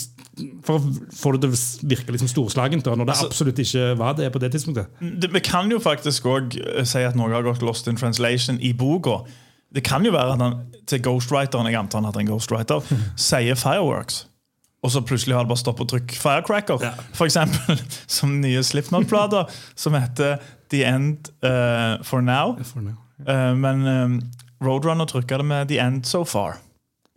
Speaker 3: For å få det til å virke liksom storslagent, da, når det
Speaker 2: Altså-
Speaker 3: absolutt ikke var det på det tidspunktet.
Speaker 2: det, vi kan jo faktisk òg si at noe har gått lost in translation i boka. Det kan jo være at han til ghostwriteren jeg antar han hadde en ghostwriter, [laughs] sier 'fireworks'. Og så plutselig har det bare stopp og trykk 'firecracker'.
Speaker 3: Ja.
Speaker 2: For eksempel [laughs] som nye Slipknot-plater [laughs] som heter 'The End eh, For Now'. Eh, men eh, Roadrunner trykker det med 'The End So Far'.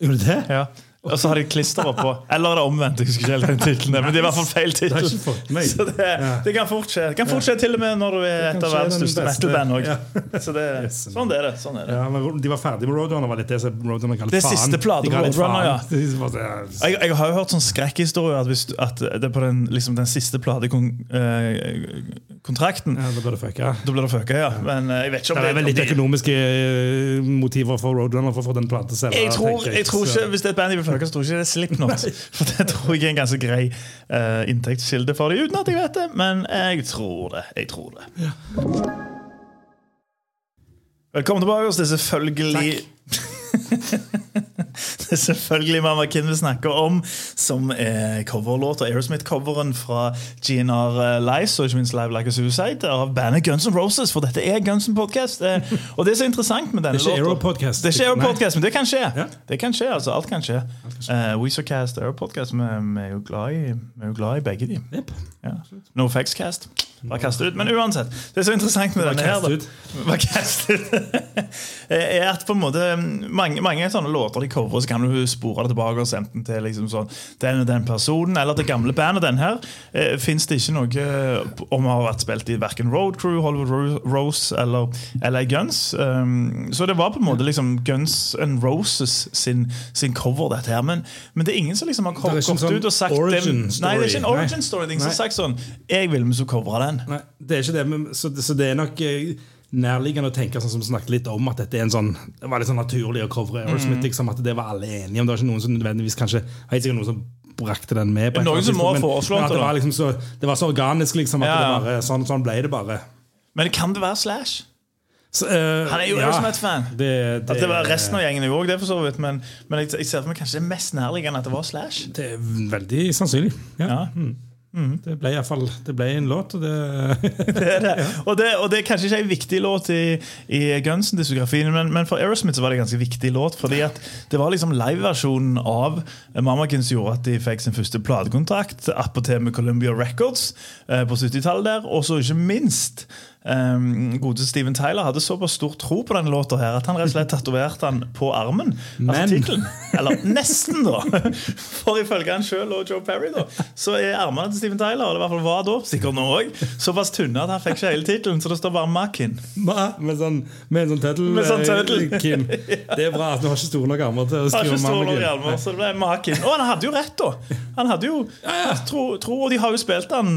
Speaker 3: Gjorde det?
Speaker 2: Ja. Og så har de klister oppå. Eller er det omvendt? jeg husker ikke helt den titlen, men det er i hvert fall feil
Speaker 3: Det har
Speaker 2: tittel.
Speaker 3: jeg ikke fått med.
Speaker 2: Så det, det kan fort skje. Det kan fort skje til og med når du er et
Speaker 3: kan
Speaker 2: av
Speaker 3: skje
Speaker 2: verdens
Speaker 3: den
Speaker 2: største
Speaker 3: beste.
Speaker 2: metal-band òg. Sånn er det. sånn er det.
Speaker 3: Ja, men De var ferdig med Roadrunner. var litt Det som Roadrunner kalte
Speaker 2: Det
Speaker 3: faen.
Speaker 2: siste plate
Speaker 3: De kaller
Speaker 2: på
Speaker 3: det faen.
Speaker 2: Roadrunner, ja.
Speaker 3: [laughs] Det er bare- ja.
Speaker 2: Jeg, jeg har jo hørt sånn skrekkhistorie at, hvis, du- at det er på den, liksom den siste platekontrakten
Speaker 3: Ja, da bør det fucka.
Speaker 2: Da blir det fucka, ja. Men eh, jeg vet ikke
Speaker 3: Det
Speaker 2: om
Speaker 3: er vel
Speaker 2: om
Speaker 3: litt
Speaker 2: de-
Speaker 3: økonomiske eh, motiver for Roadrunner for å få den plata selv.
Speaker 2: jeg tror,
Speaker 3: tenker
Speaker 2: jeg tror
Speaker 3: Så-
Speaker 2: ikke, Hvis det er et band jeg vil følge, så tror jeg ikke det er Slipknot. [laughs] For det tror jeg er en ganske grei eh, inntektskilde for dem, uten at jeg vet det. Men jeg tror det. jeg tror det. Velkommen tilbake. oss. Det er selvfølgelig [laughs] Det er selvfølgelig Mamma Kim vi snakker om, som er coverlåta. Aerosmith-coveren fra GNR eh, Lies og ikke minst Live Like a Suicide av bandet Guns N' Roses. For dette er Guns N' Podcast. eh, Og det er så interessant med denne
Speaker 3: Det er ikke
Speaker 2: låta-
Speaker 3: Aero-podcast.
Speaker 2: Det er ikke
Speaker 3: Nei.
Speaker 2: Aero-podcast. Yes, men det kan skje.
Speaker 3: Ja.
Speaker 2: Det kan skje, altså. Alt kan skje. Eh, Weezercast og Airpodcast, vi, vi er jo glad i, vi er jo glad i begge de.
Speaker 3: Jepp.
Speaker 2: Ja. No faxcast. Bare kaste ut. Men uansett, det er så interessant med denne her,
Speaker 3: kast
Speaker 2: da.
Speaker 3: ut.
Speaker 2: Bare kast ut. [laughs] Eh, er at på en måte mm, mange, mange sånne låter de coverer, så kan du spore det tilbake og sende den til liksom sånn, den og den personen, eller til gamle band og den her. Eh, Fins det ikke noe eh, om har vært spilt i verken Road Crew, Hollywood Ro- Rose eller LA Guns? Um, så det var på en måte liksom Guns and Roses sin, sin cover, dette her. Men, men det er ingen som liksom har
Speaker 3: Det er
Speaker 2: gått
Speaker 3: ikke en sånn
Speaker 2: ut og sagt
Speaker 3: origin
Speaker 2: det, Nei, det er ikke en
Speaker 3: story.
Speaker 2: origin story. Det er ingen som
Speaker 3: Nei.
Speaker 2: har sagt sånn Jeg vil vi skulle covre den.
Speaker 3: Nei, det er ikke det, men, så, så det er nok eh, nærliggende å tenke sånn som vi snakket litt om, at dette er en sånn, det var litt sånn naturlig å
Speaker 2: Mm.
Speaker 3: covre Aerosmith, liksom, at det var alle enige om. Det var ikke noen som nødvendigvis kanskje, helt sikkert noen som brakte den med. på et
Speaker 2: Noen
Speaker 3: eller annet
Speaker 2: som må ha
Speaker 3: tidspunkt, men-
Speaker 2: foreslått
Speaker 3: men at
Speaker 2: det,
Speaker 3: det.
Speaker 2: da.
Speaker 3: Var liksom så, det var så organisk, liksom, at
Speaker 2: Ja, ja.
Speaker 3: det bare, sånn, sånn ble det bare.
Speaker 2: Men kan det være Slash?
Speaker 3: Så, eh,
Speaker 2: Han er jo Aerosmith-fan.
Speaker 3: Det,
Speaker 2: At det var resten av gjengen jo òg, det for så vidt. Men, men jeg, jeg ser for meg kanskje det er mest nærliggende at det var Slash.
Speaker 3: det er veldig sannsynlig. Ja. Mm.
Speaker 2: Ja. Mm.
Speaker 3: Det ble iallfall en låt, og det [laughs]
Speaker 2: Det er det. Og, det, og det er kanskje ikke en viktig låt i, i Gunsen-diskografien, men, men for Aerosmith så var det en ganske viktig låt. fordi at det var liksom liveversjonen av Mamakins som gjorde at de fikk sin første platekontrakt, attpåtil med Columbia Records eh, på 70-tallet der. Og så ikke minst Um, gode Steven Tyler hadde såpass stor tro på denne låta her at han rett og slett tatoverte den på armen.
Speaker 3: Men-
Speaker 2: Altså tittelen. Eller nesten, da! For ifølge han sjøl og Joe Perry, da, så er armene til Steven Tyler og det i hvert fall var da, sikkert nå også, såpass tynne at han fikk ikke hele tittelen, så det står bare Mackin.
Speaker 3: Ma- Med, sånn, med en sånn tøttel.
Speaker 2: Med sånn
Speaker 3: eh,
Speaker 2: tøttel.
Speaker 3: [laughs]
Speaker 2: [laughs]
Speaker 3: Kim. Det er bra at du har ikke store nok armer til å
Speaker 2: Har
Speaker 3: skrive
Speaker 2: ikke
Speaker 3: mann
Speaker 2: stor
Speaker 3: og
Speaker 2: nok
Speaker 3: kvinne.
Speaker 2: armer, så det ble Mackin. Og han hadde jo rett, da! Han hadde jo tro, tro, og de har jo spilt den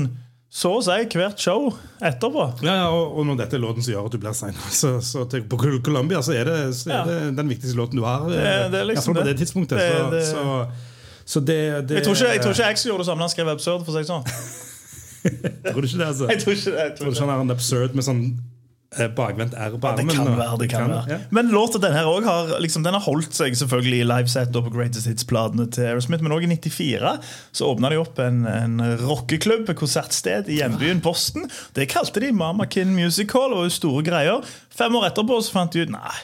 Speaker 2: så å si hvert show etterpå.
Speaker 3: Ja, ja, og, og når dette er låten som gjør at du blir sein, så, så til, på Col- Columbia så er det, så er
Speaker 2: Ja.
Speaker 3: det den viktigste låten du har. eh,
Speaker 2: Det- det er liksom
Speaker 3: i hvert fall på det
Speaker 2: det.
Speaker 3: tidspunktet.
Speaker 2: Det-
Speaker 3: så,
Speaker 2: det-
Speaker 3: Så, så det, det
Speaker 2: Jeg tror ikke, jeg tror ikke Axel gjorde det samme da han skrev Absurd. for å si det sånn
Speaker 3: Tror du ikke det, altså?
Speaker 2: Jeg tror ikke det, jeg tror
Speaker 3: Tror
Speaker 2: ikke
Speaker 3: du
Speaker 2: det.
Speaker 3: ikke han er en absurd med sånn eh, bakvendt R på
Speaker 2: Det
Speaker 3: armen?
Speaker 2: kan
Speaker 3: og-
Speaker 2: være. det kan være
Speaker 3: ja.
Speaker 2: Men låten den her også har liksom, Den har holdt seg selvfølgelig i liveset og på Greatest Hits-platene til Aerosmith, men også i 94 så åpna de opp en, en rockeklubb, et konsertsted i hjembyen Boston. Det kalte de Mamakin Music Hall, og store greier. Fem år etterpå så fant de ut Nei,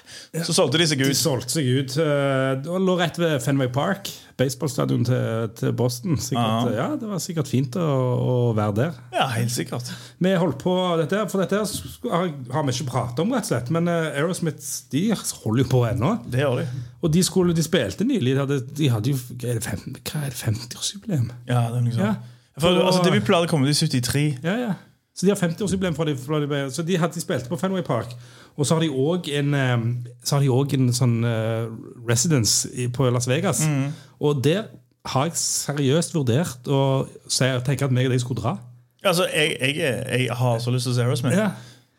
Speaker 2: så solgte de seg
Speaker 3: De
Speaker 2: ut.
Speaker 3: solgte seg ut eh, og lå rett ved Fenway Park, baseballstadion til, til Boston. Sikkert, ja, det var sikkert fint å, å være der.
Speaker 2: Ja, helt sikkert.
Speaker 3: Vi holdt på dette, her, for dette her sk- har, har vi ikke pratet om, rett og slett. Men eh, Aerosmith de holder jo på ennå.
Speaker 2: Det gjør de.
Speaker 3: Og de, skulle, de spilte nylig. De hadde, de hadde jo hva er det, fem- hva er det 50-årsjubileum.
Speaker 2: Ja, det er noe sånt.
Speaker 3: Ja.
Speaker 2: For,
Speaker 3: Og-
Speaker 2: altså, Debutplaten kom ut i 73.
Speaker 3: Ja, ja. Så de har 50-årsjubileum. fra de- fra de- Så de, hadde, de spilte på Fenway Park. Og så har de òg en, eh, så har de også en sånn eh, residence i- på Las Vegas. Og der har jeg seriøst vurdert å si- tenke at meg og deg skulle dra.
Speaker 2: Altså, jeg, jeg, er- jeg har så lyst til å se Aerosmith.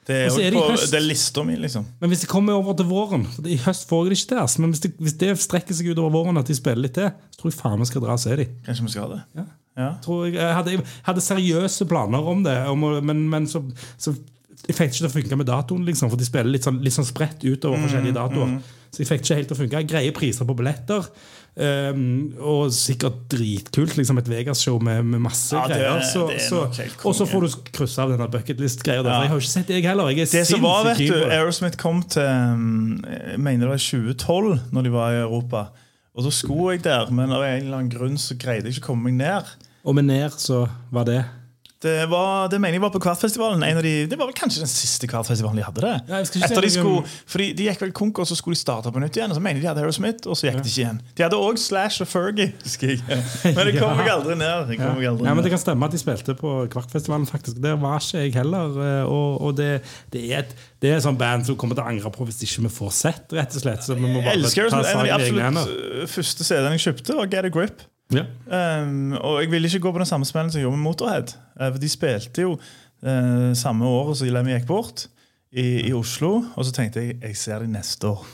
Speaker 2: Det er,
Speaker 3: Og så
Speaker 2: jo
Speaker 3: er det i
Speaker 2: på,
Speaker 3: høst.
Speaker 2: det er lista mi, liksom.
Speaker 3: Men hvis det kommer over til våren for I høst får jeg det ikke til. ass, Men hvis det, hvis det strekker seg utover våren at de spiller litt til, så tror jeg faen vi skal dra og se dem.
Speaker 2: Kanskje vi skal ha det?
Speaker 3: Ja.
Speaker 2: Ja.
Speaker 3: Tror jeg, jeg, hadde, jeg hadde seriøse planer om det, om, å- men, men så, så jeg fikk ikke til å funke med datoen. Liksom, for de spiller litt sånn, litt sånn spredt utover
Speaker 2: Mm,
Speaker 3: forskjellige datoer. Så jeg fikk ikke helt til å funke. Greie priser på billetter. ehm, og sikkert dritkult. Liksom et Vegas-show med, med masse
Speaker 2: Ja, det er-
Speaker 3: greier. Så,
Speaker 2: det er
Speaker 3: så,
Speaker 2: nok helt konge.
Speaker 3: og så får du krysse av denne bucketlist-greia. der, for Jeg har jo ikke sett det, jeg heller. Jeg er
Speaker 2: Det som var, vet
Speaker 3: sinnssykt
Speaker 2: du,
Speaker 3: keen på det.
Speaker 2: Aerosmith kom til um, Jeg mener det var 2012, når de var i Europa. Og så skulle jeg der, men av en eller annen grunn så greide jeg ikke å komme meg ned.
Speaker 3: Og med ned så var det
Speaker 2: Det, var, det mener jeg var på Kvartfestivalen. En av de, det var vel kanskje den siste Kvartfestivalen de hadde det.
Speaker 3: Ja, jeg skal ikke
Speaker 2: Etter de,
Speaker 3: si noe om-
Speaker 2: skulle, fordi de gikk vel konk, og så skulle de starte på nytt igjen. Og så mener de de hadde Aerosmith, og så gikk de ikke igjen. De hadde òg Slash og Fergie. husker jeg. [laughs] Men jeg kom meg aldri ned. Jeg kom meg aldri
Speaker 3: Ja, men Det
Speaker 2: ned.
Speaker 3: kan stemme at de spilte på Kvartfestivalen. faktisk Der var ikke jeg heller. eh, Og, og det, det, er et, det er et sånt band som kommer til å angre på hvis ikke vi får sett, rett og slett. Så vi må
Speaker 2: Jeg
Speaker 3: bare
Speaker 2: elsker
Speaker 3: ta
Speaker 2: Aerosmith. En av de
Speaker 3: saken i
Speaker 2: absolutt
Speaker 3: egne hender.
Speaker 2: uh, første CD-ene jeg kjøpte, var Get a Grip.
Speaker 3: Ja.
Speaker 2: Um, og jeg ville ikke gå på den samme smellen som jeg gjorde med Motorhead. Eh, for de spilte jo eh, samme året som Lemmy gikk bort, i, i Oslo. Og så tenkte jeg jeg ser de neste år.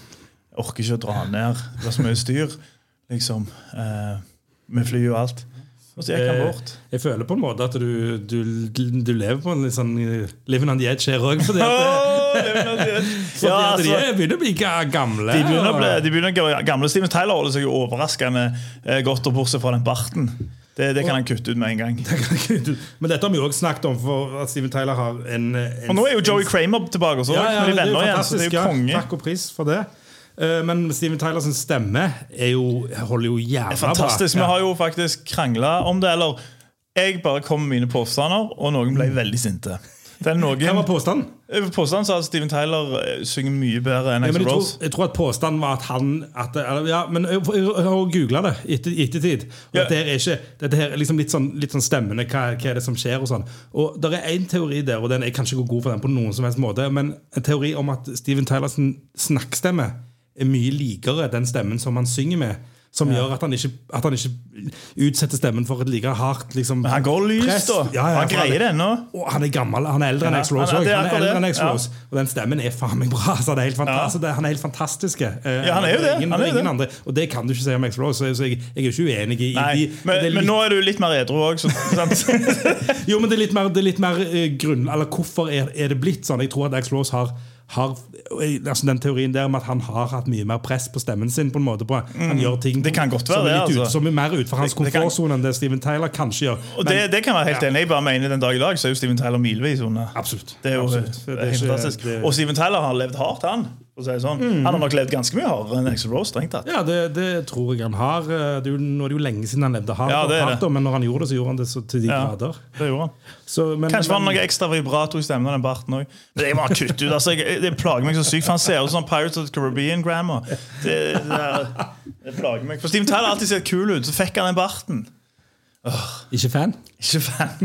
Speaker 2: Jeg orker ikke å dra ned. Det var så mye styr. liksom eh, Med fly og alt. Og så gikk han bort.
Speaker 3: Jeg føler på en måte at du, du, du lever på en litt sånn eh, Living on the edge her òg. Fordi at,
Speaker 2: Åh, det var det.
Speaker 3: fordi
Speaker 2: [laughs] Ja,
Speaker 3: at de
Speaker 2: altså,
Speaker 3: er- begynner å bli ga- gamle.
Speaker 2: de begynner å bli,
Speaker 3: og-
Speaker 2: de begynner, å gå- gamle Steven Tyler holder seg jo overraskende eh, godt, og bortsett fra den barten. Det, det kan han kutte ut med en gang.
Speaker 3: [laughs] Men dette har vi jo også snakket om, for at Steven Tyler har en, eh, en
Speaker 2: Og nå er jo Joey Kramer tilbake også.
Speaker 3: Ja, ja,
Speaker 2: med de
Speaker 3: det er jo
Speaker 2: venner igjen, så
Speaker 3: fantastisk.
Speaker 2: det er jo
Speaker 3: ja.
Speaker 2: konge.
Speaker 3: Takk og pris for det. Eh, Men Steven Tylers stemme er jo, holder jo jævla bra.
Speaker 2: Fantastisk. Vi
Speaker 3: Ja.
Speaker 2: har jo faktisk krangla om det. Eller jeg bare kom med mine påstander, og noen ble veldig sinte. Det er noen,
Speaker 3: Mm. Hva var påstanden?
Speaker 2: Påstanden sa at Steven Tyler eh, synger mye bedre enn
Speaker 3: Ja,
Speaker 2: Axel
Speaker 3: men jeg, tror,
Speaker 2: Rose.
Speaker 3: jeg tror at påstanden var at han at, det- eller, Ja, men jeg, jeg, jeg har googla det i etter, i ettertid. Og
Speaker 2: Ja.
Speaker 3: Dette her er ikke Dette her er liksom litt sånn, litt sånn stemmende. Hva, hva er det som skjer? Og sånn Og der er én teori der, og den jeg kan ikke gå god for den på noen som helst måte, men en teori om at Steven Tylers snakkstemme er mye likere den stemmen som han synger med. Som gjør at han, ikke, at han ikke utsetter stemmen for et like hardt liksom,
Speaker 2: Men han går lyst,
Speaker 3: press.
Speaker 2: da.
Speaker 3: Ja, ja,
Speaker 2: han
Speaker 3: for han er-
Speaker 2: greier det ennå.
Speaker 3: og han er gammel, han er eldre enn
Speaker 2: Ja,
Speaker 3: Axl Rose
Speaker 2: han er-
Speaker 3: også.
Speaker 2: det er
Speaker 3: Han er
Speaker 2: akkurat
Speaker 3: eldre enn
Speaker 2: det.
Speaker 3: Axl Rose. Og den stemmen er faen meg bra. Så det er helt fantastisk. Det- Han er helt fantastisk. eh,
Speaker 2: Ja, han er jo det.
Speaker 3: Ingen,
Speaker 2: Han er jo
Speaker 3: ingen
Speaker 2: det.
Speaker 3: andre. Og det kan du ikke si om Axl Rose, så jeg, jeg er jo ikke uenig i, i
Speaker 2: Nei,
Speaker 3: de
Speaker 2: men,
Speaker 3: det
Speaker 2: men
Speaker 3: er litt-
Speaker 2: nå er du litt mer edru òg,
Speaker 3: [laughs]
Speaker 2: så sant?
Speaker 3: Jo, men det er litt mer, det er litt mer eh, grunn Eller hvorfor er, er det blitt sånn? Jeg tror at Axl Rose har har, altså Den teorien der om at han har hatt mye mer press på stemmen sin. på en måte på, Han gjør ting
Speaker 2: Mm. Det kan godt være
Speaker 3: som, er
Speaker 2: det,
Speaker 3: litt
Speaker 2: altså.
Speaker 3: ut, som er mer utenfor hans
Speaker 2: Det- det kan-
Speaker 3: komfortsone enn det Steven Tyler kanskje gjør.
Speaker 2: Og
Speaker 3: Men-
Speaker 2: det, det kan være helt
Speaker 3: Ja.
Speaker 2: enig. Jeg bare mener den dag i dag så er jo Steven Tyler milevis unna.
Speaker 3: Absolutt.
Speaker 2: Det er jo
Speaker 3: Absolutt.
Speaker 2: det er
Speaker 3: ikke-
Speaker 2: helt fantastisk.
Speaker 3: det- Mm.
Speaker 2: Og Steven Tyler har levd hardt, han. For å si det sånn. Han har nok levd ganske mye hardere enn Axel Rose. strengt tatt.
Speaker 3: Ja, det, det tror jeg han har. Eh, Det er jo, nå er det jo lenge siden han levde hardt,
Speaker 2: Ja, det er
Speaker 3: hardt
Speaker 2: det.
Speaker 3: men når han gjorde det, så gjorde han det så til de
Speaker 2: Ja.
Speaker 3: grader.
Speaker 2: Det gjorde han.
Speaker 3: Så, men,
Speaker 2: Kanskje var det
Speaker 3: men-
Speaker 2: noe ekstra vibrato i stemmen av den barten òg. Det må han kutte ut. altså. Jeg, det plager meg så sykt. for Han ser ut som Pirates of the Caribbean-grammar. Det, det, der- det plager meg. For Steven Tyler har alltid sett kul ut. Så fikk han den barten.
Speaker 3: Ikke fan?
Speaker 2: Ikke fan,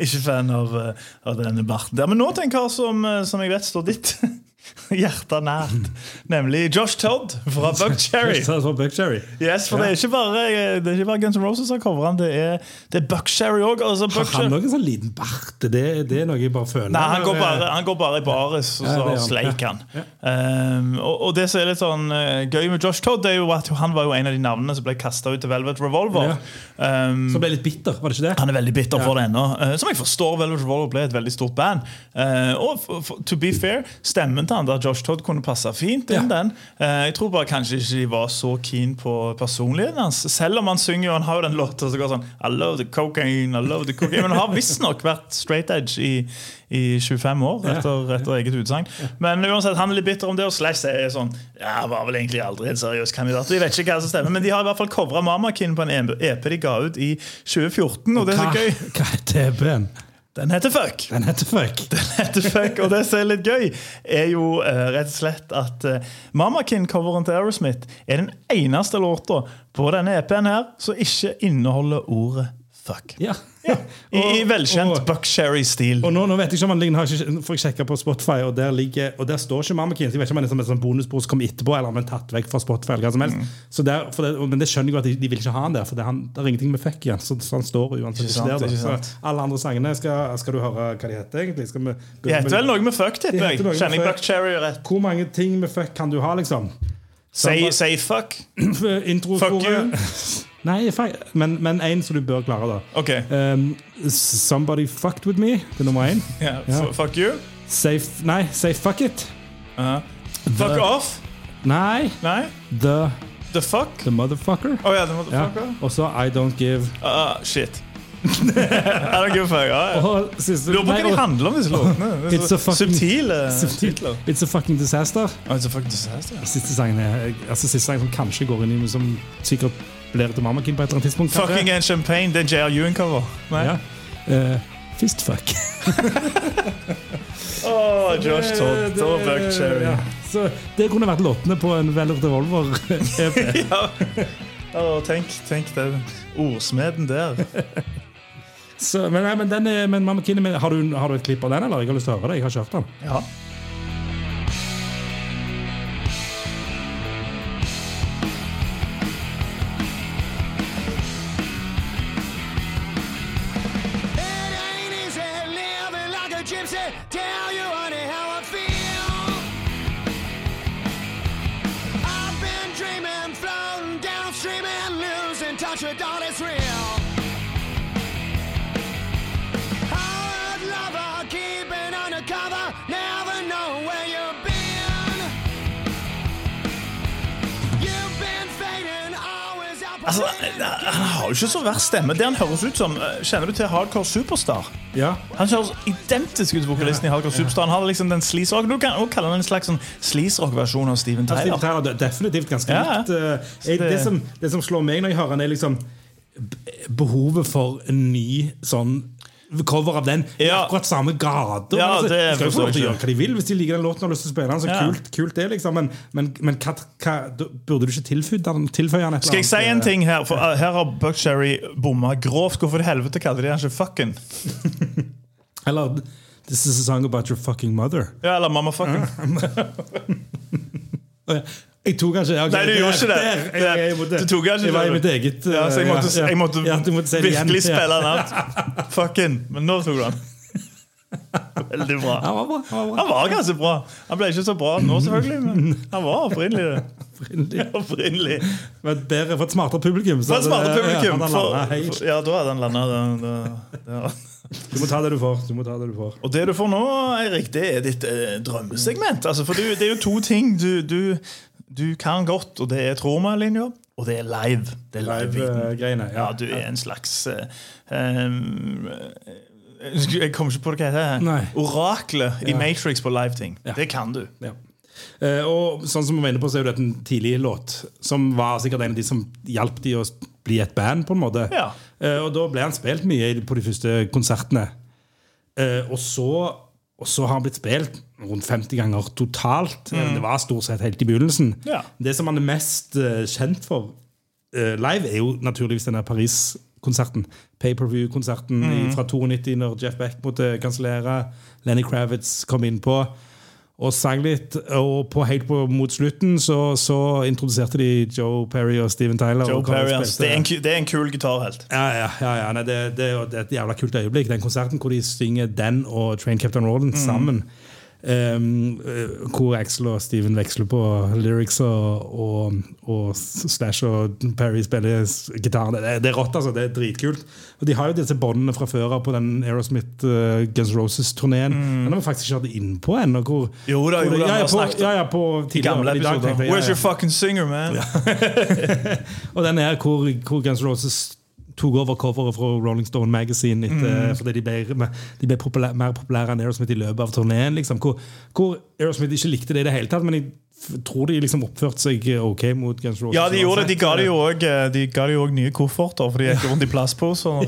Speaker 2: ikke fan av, eh, av denne barten. der. Men nå til en kar som, eh, som jeg vet står ditt [laughs] hjerte nært. Nemlig Josh Todd fra Buckcherry.
Speaker 3: Så- så Buckcherry.
Speaker 2: Yes, for det er ikke bare, eh, det er ikke bare Guns N' Roses som coverer han, det er, det er Buckcherry òg. Altså,
Speaker 3: Har han
Speaker 2: Buckcherry-
Speaker 3: noen sånn liten bart? Det, det er noe jeg bare føler.
Speaker 2: Nei, han går,
Speaker 3: Eller-
Speaker 2: bare, han går bare i baris, og
Speaker 3: eh, Ja, det
Speaker 2: så
Speaker 3: gjør han.
Speaker 2: sleik han.
Speaker 3: Ja.
Speaker 2: Um, og, og det som er litt sånn eh, gøy med Josh Todd, Det er jo at han var jo en av de navnene som ble kasta ut til Velvet Revolver. Um,
Speaker 3: Som ble litt bitter, var det ikke det?
Speaker 2: Han er veldig bitter for det ennå. Eh, som jeg forstår, Velvet Revolver ble et veldig stort band. Eh, og for, for, to be fair, stemmen til han der Josh Todd kunne passe fint inn
Speaker 3: Ja.
Speaker 2: den. Eh, jeg tror bare kanskje ikke de var så keen på personligheten hans. Selv om han synger, og han har jo den låta som går sånn I love the cocaine, I love the cocaine. Men han har visstnok vært straight edge i, i 25 år, etter, etter eget utsagn. Men uansett, han er litt bitter om det, og Slash er sånn Ja, han var vel egentlig aldri en seriøs kandidat. Jeg vet ikke hva som stemmer, men de har i hvert fall covra Mamakin på en EP de ga ut i 2014, og det er så gøy.
Speaker 3: Hva, hva er TB-en?
Speaker 2: Den heter Fuck.
Speaker 3: Den heter fuck.
Speaker 2: Den heter Fuck, Og det som er litt gøy, er jo eh, rett og slett at uh, Mamakin-coveren til Aerosmith er den eneste låta på denne EP-en her som ikke inneholder ordet fuck.
Speaker 3: Ja.
Speaker 2: I, i
Speaker 3: Og-
Speaker 2: velkjent
Speaker 3: og-
Speaker 2: Bucksherry-stil.
Speaker 3: Og nå, nå vet jeg ikke om han ligger, har ikke, for jeg sjekket på Spotify, og der, ligger, og der står ikke Mammakin. Så jeg vet ikke om han er som et sånn bonusbord som kom etterpå, eller om han er tatt vekk fra Spotify. eller hva som
Speaker 2: Mm.
Speaker 3: helst. Så der, for det, men det skjønner jeg jo at de, de vil ikke ha han der, for det, er han, det er ingenting med fuck igjen. Så, så han står uansett
Speaker 2: Ikke
Speaker 3: ikke
Speaker 2: sant,
Speaker 3: der. da.
Speaker 2: ikke sant.
Speaker 3: Så alle andre sangene skal, skal du høre hva de heter, egentlig. Skal vi,
Speaker 2: De heter vel noe med fuck,
Speaker 3: De
Speaker 2: tipper
Speaker 3: heter
Speaker 2: jeg.
Speaker 3: noe med
Speaker 2: Kjenner jeg
Speaker 3: fuck.
Speaker 2: Bucksherry rett?
Speaker 3: Hvor mange ting med fuck kan du ha, liksom?
Speaker 2: Say, say fuck.
Speaker 3: Intro
Speaker 2: Fuck you.
Speaker 3: [laughs] Nei, fuck, men men en som du bør klare, da.
Speaker 2: OK.
Speaker 3: Um, somebody fucked with me. Det er nummer én.
Speaker 2: Ja,
Speaker 3: Ja.
Speaker 2: f- Fuck you.
Speaker 3: Say, f- nei, say fuck it.
Speaker 2: Ja. Fuck
Speaker 3: The-
Speaker 2: off.
Speaker 3: Nei.
Speaker 2: Nei.
Speaker 3: The,
Speaker 2: The fuck.
Speaker 3: the motherfucker.
Speaker 2: Å ja, det måtte
Speaker 3: Ja.
Speaker 2: fuck off.
Speaker 3: Og så I don't give.
Speaker 2: Ah, shit. [laughs] I don't give a fuck. Ah, Ja, ja.
Speaker 3: Og siste
Speaker 2: Lurer på hva
Speaker 3: nei,
Speaker 2: de
Speaker 3: og-
Speaker 2: handler om, disse låtene. Det
Speaker 3: [laughs] It's
Speaker 2: er så
Speaker 3: a fucking- [laughs]
Speaker 2: Subtile titler.
Speaker 3: Subtitler. It's a fucking disaster.
Speaker 2: Oh, it's a fucking disaster.
Speaker 3: Siste sangen er, altså siste sangen som kanskje går inn i Som sikkert blir til Mammakin på et eller annet tidspunkt. kanskje.
Speaker 2: Fucking and Champagne, det er JR Ewan-cover. Nei?
Speaker 3: ja. Eh, Fistfuck.
Speaker 2: Åh, Josh Todd og Buck Cherry.
Speaker 3: Ja. Så det kunne vært låtene på en Velvet Revolver. [laughs] E
Speaker 2: Åh, tenk, tenk den ordsmeden der.
Speaker 3: så, men nei, men, den er, men Mamma Kinn, har, du- har du et klipp av den, eller? Jeg har lyst til å høre det. Jeg har ikke hørt den.
Speaker 2: Ja.
Speaker 6: It ain't easy living like a gypsy. Tell you honey how I feel. I've been dreaming, floating downstream and losing touch with all that's real. Hard lover, keeping undercover, never know where you've been. You've been fading, always out.
Speaker 2: Altså, eh, han har jo ikke så verst stemme. Det han høres ut som, eh, kjenner du til Hardcore Superstar?
Speaker 3: Ja.
Speaker 2: Han høres identisk ut som vokalisten i Hardcore Superstar. Han har liksom den sleaze-rock. Du kan også kalle han en slags sånn sleaze-rock-versjon av Steven
Speaker 3: Ja, Steven
Speaker 2: Tyler.
Speaker 3: Tyler, det er definitivt ganske
Speaker 2: Ja, ja.
Speaker 3: likt. Eh, Jeg, det,
Speaker 2: det-
Speaker 3: som, det som slår meg når jeg hører han, er liksom b- behovet for en ny sånn cover av den i
Speaker 2: Ja.
Speaker 3: akkurat samme gate.
Speaker 2: Ja,
Speaker 3: Altså,
Speaker 2: det
Speaker 3: de skal jo få lov til å
Speaker 2: forstår jeg
Speaker 3: gjøre hva de vil hvis de liker den låten og har lyst til å spille den. Så
Speaker 2: Ja.
Speaker 3: kult, kult det liksom Men, men, men hva, hva, da burde du ikke tilføye den? Tilføye den et
Speaker 2: Skal jeg si
Speaker 3: eller
Speaker 2: en
Speaker 3: annet, eh,
Speaker 2: ting her? For uh, her har Buckcherry bomma grovt. Hvorfor i helvete kaller de han ikke fucken?
Speaker 3: Eller This is a song about your fucking mother.
Speaker 2: Ja, eller mamma fucken.
Speaker 3: Mm. Og jeg- Jeg tok kanskje ok,
Speaker 2: Nei, du gjorde ikke det.
Speaker 3: der, jeg- jeg måtte-
Speaker 2: Du tok kanskje
Speaker 3: Jeg var i
Speaker 2: det.
Speaker 3: mitt eget
Speaker 2: Ja, så jeg
Speaker 3: eh,
Speaker 2: måtte,
Speaker 3: ja.
Speaker 2: jeg måtte,
Speaker 3: Ja, du måtte si det igjen.
Speaker 2: virkelig
Speaker 3: Ja.
Speaker 2: spille den out. Fucken. Men nå tok du den. Veldig bra.
Speaker 3: Ja, det var bra, det var bra.
Speaker 2: Han var ganske bra. Han ble ikke så bra nå, selvfølgelig, men han var opprinnelig det.
Speaker 3: Opprinnelig.
Speaker 2: Opprinnelig.
Speaker 3: For et bedre, for et smartere publikum. så
Speaker 2: For et
Speaker 3: hadde
Speaker 2: smarte
Speaker 3: det-
Speaker 2: publikum.
Speaker 3: Ja, han
Speaker 2: For,
Speaker 3: hadde landet helt-
Speaker 2: for, ja, da hadde han landa.
Speaker 3: Du må ta det du får. Du må ta det du får.
Speaker 2: Og det du får nå, Eirik, det er ditt eh, drømmesegment. Altså, for du, det er jo to ting du, du, du kan godt, og det er Troma-linja, og det er live. Det er live
Speaker 3: Live-greiene.
Speaker 2: ja, du er en slags eh, em, eh, Jeg kommer ikke på det hva det
Speaker 3: Nei.
Speaker 2: heter. Oraklet i
Speaker 3: Ja.
Speaker 2: Matrix på live-ting.
Speaker 3: Ja.
Speaker 2: Det kan du.
Speaker 3: Ja. Eh, og sånn som vi var inne på, så er jo dette en tidlig låt, som var sikkert en av de som hjalp de å bli et band, på en måte.
Speaker 2: Ja.
Speaker 3: Eh, og da ble han spilt mye i- på de første konsertene. Eh, og, så, og så har han blitt spilt rundt 50 ganger totalt. Eh, Det var stort sett helt i begynnelsen.
Speaker 2: Mm. Ja.
Speaker 3: Det som han er mest eh, kjent for eh, live, er jo naturligvis den der Paris-konserten. Pay-per-view-konserten
Speaker 2: Mm.
Speaker 3: i- fra 92, når Jeff Beck måtte kansellere. Lenny Kravitz kom innpå og sang litt. Og på, helt på, mot slutten så, så introduserte de Joe Perry og Steven Tyler.
Speaker 2: Joe
Speaker 3: og kom og
Speaker 2: Perry, altså.
Speaker 3: spilte-
Speaker 2: Det er en, ku- det er en kul gitarhelt.
Speaker 3: ja, ja, ja, ja. Nei, det, det, er jo- det er et jævla kult øyeblikk. Den konserten hvor de synger den og Train Captain Roland
Speaker 2: Mm.
Speaker 3: sammen. Um, eh, hvor Axel og Steven veksler på lyrics og, og, og Slash og Perry spiller s- gitar. Det, det er rått, altså. Det er dritkult. Og de har jo disse båndene fra før av på den Aerosmith eh, Guns Roses-turneen. Den har vi faktisk ikke hatt innpå ennå. hvor-
Speaker 2: Mm. Jo da, jo da,
Speaker 3: hvor-
Speaker 2: vi
Speaker 3: ja,
Speaker 2: har
Speaker 3: ja, på,
Speaker 2: snakket om-
Speaker 3: ja, ja, på tidligere
Speaker 2: Gamle
Speaker 3: i dag,
Speaker 2: episoder.
Speaker 3: tenkte jeg, ja,
Speaker 2: Where's
Speaker 3: ja.
Speaker 2: your fucking singer, man?
Speaker 3: Og den er hvor, hvor Guns N' Roses tok over coveret fra Rolling Stone Magazine etter,
Speaker 2: Mm.
Speaker 3: fordi de ble, de ble populær, mer populære enn Aerosmith i løpet av turneen. Liksom, hvor, hvor Aerosmith ikke likte det i det hele tatt, men jeg f- tror de liksom oppførte seg ok mot Guns N' Roses.
Speaker 2: Ja, de gjorde det. De ga det
Speaker 3: uansett. eh,
Speaker 2: jo òg De ga det jo også nye kofferter, for de gikk rundt i [laughs] plastposer på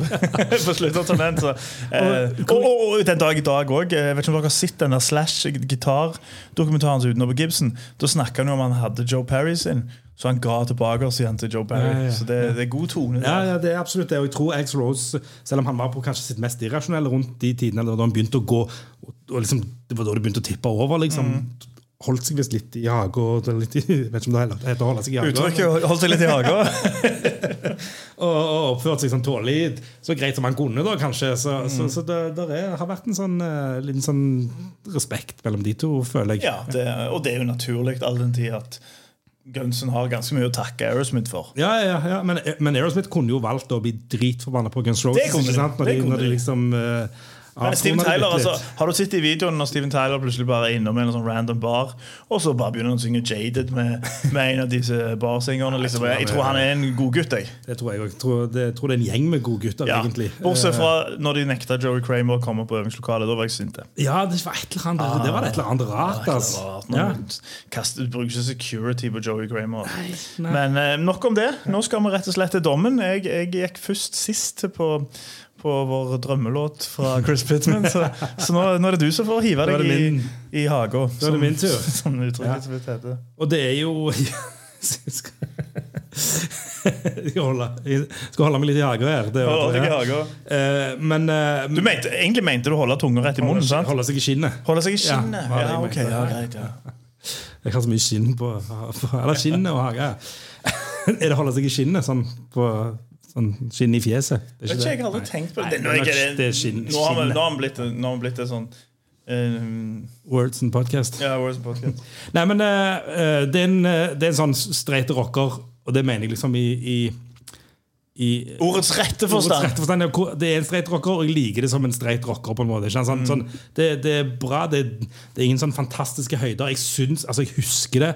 Speaker 2: slutten av turneen. så, eh, Og, og, og den dag i dag òg. Jeg vet ikke om dere har sett den der Slash-gitardokumentaren som er utenom på Gibson. Da snakka han jo om han hadde Joe Perry sin, så han ga tilbake oss igjen til Joe Perry.
Speaker 3: Ja, ja, ja.
Speaker 2: Så det, det er god tone.
Speaker 3: Ja,
Speaker 2: der.
Speaker 3: ja, det er absolutt det. Og jeg tror Ax Rose, selv om han var på kanskje sitt mest irrasjonelle rundt de tidene, eller da han begynte å gå, og, og liksom, det var da det begynte å tippe over, liksom,
Speaker 2: Mm.
Speaker 3: holdt seg visst litt i hage, og det er litt i, jeg vet ikke om det heller heter å holde seg i hage.
Speaker 2: Uttrykket holdt seg litt i
Speaker 3: [laughs]
Speaker 2: haga.
Speaker 3: og, og oppførte seg sånn tålelig, så greit som han kunne, da, kanskje. Så,
Speaker 2: Mm.
Speaker 3: så, så det, der er, har vært en sånn, eh, liten sånn respekt mellom de to, føler jeg.
Speaker 2: Ja, det, og det er jo naturlig, all den tid at Gunsen har ganske mye å takke Aerosmith for.
Speaker 3: Ja, ja, ja, Men, eh, men Aerosmith kunne jo valgt å bli dritforbanna på Guns
Speaker 2: Det
Speaker 3: Roses.
Speaker 2: kunne de.
Speaker 3: ikke sant? Når
Speaker 2: Det
Speaker 3: de,
Speaker 2: kunne
Speaker 3: når de
Speaker 2: de.
Speaker 3: liksom eh,
Speaker 2: Men Steven
Speaker 3: avtoner det
Speaker 2: Tyler,
Speaker 3: litt.
Speaker 2: altså, har du sett i videoen når Steven Tyler plutselig bare er innom en sånn random bar, og så bare begynner han å synge 'Jaded' med, med en av disse barsingerne? Liksom.
Speaker 3: tror han
Speaker 2: Jeg tror han er en god gutt, jeg.
Speaker 3: Det tror jeg òg. Tror, det- tror det er en gjeng med gode gutter,
Speaker 2: Ja.
Speaker 3: egentlig.
Speaker 2: Bortsett fra når de nekta Joey Kramer å komme på øvingslokalet. Da var jeg sint.
Speaker 3: Eh, Ja, det var et eller annet,
Speaker 2: Ah.
Speaker 3: det var et eller annet rart. altså. Ja.
Speaker 2: Du bruker ikke security på Joey Kramer. Men eh, nok om det. Nå skal vi rett og slett til dommen. Jeg, jeg gikk først sist på, på vår drømmelåt fra Chris Pittman. Så, så nå, nå er det du som får hive
Speaker 3: Da er
Speaker 2: deg
Speaker 3: det
Speaker 2: i,
Speaker 3: min.
Speaker 2: i haga.
Speaker 3: Da er det min tur.
Speaker 2: [laughs] Som
Speaker 3: Ja.
Speaker 2: uttrykket som det heter.
Speaker 3: Og det er jo [laughs] Jeg skal holde, jeg skal holde meg litt i hagen her. Det er jo-
Speaker 2: Holde deg i hagen.
Speaker 3: Eh, men eh,
Speaker 2: Du mente, egentlig mente du å holde tunga rett i munnen, sant?
Speaker 3: holde seg i skinnet.
Speaker 2: Holde seg i
Speaker 3: Ja,
Speaker 2: skinnet.
Speaker 3: hva er
Speaker 2: Ja,
Speaker 3: det jeg
Speaker 2: ok.
Speaker 3: mente?
Speaker 2: Ja, greit, ja.
Speaker 3: Jeg har så mye skinn på Eller skinnet og hage. [laughs] er det å holde seg i skinnet? Sånn, på, sånn skinn i fjeset? Det er
Speaker 2: Vet
Speaker 3: ikke
Speaker 2: ikke, jeg
Speaker 3: det.
Speaker 2: har aldri tenkt på
Speaker 3: Nei,
Speaker 2: det.
Speaker 3: det
Speaker 2: Nå
Speaker 3: er
Speaker 2: er
Speaker 3: nok- det er skinn-
Speaker 2: nå har vi-
Speaker 3: skinnet.
Speaker 2: nå har vi blitt, nå har vi blitt et sånn eh,
Speaker 3: Words and podcast.
Speaker 2: Ja, Words Podcast.
Speaker 3: Nei, men eh, eh, det, er en, eh, det er en sånn streit rocker, og det mener jeg liksom i, i, i
Speaker 2: Ordets rette
Speaker 3: Ordets
Speaker 2: forstand.
Speaker 3: rette forstand er hvor- Det er en streit rocker, og jeg liker det som en streit rocker. på en måte ikke sant?
Speaker 2: Mm.
Speaker 3: sånn, sånn, det, det er bra, det, det er ingen sånn fantastiske høyder. Jeg syns, altså jeg husker det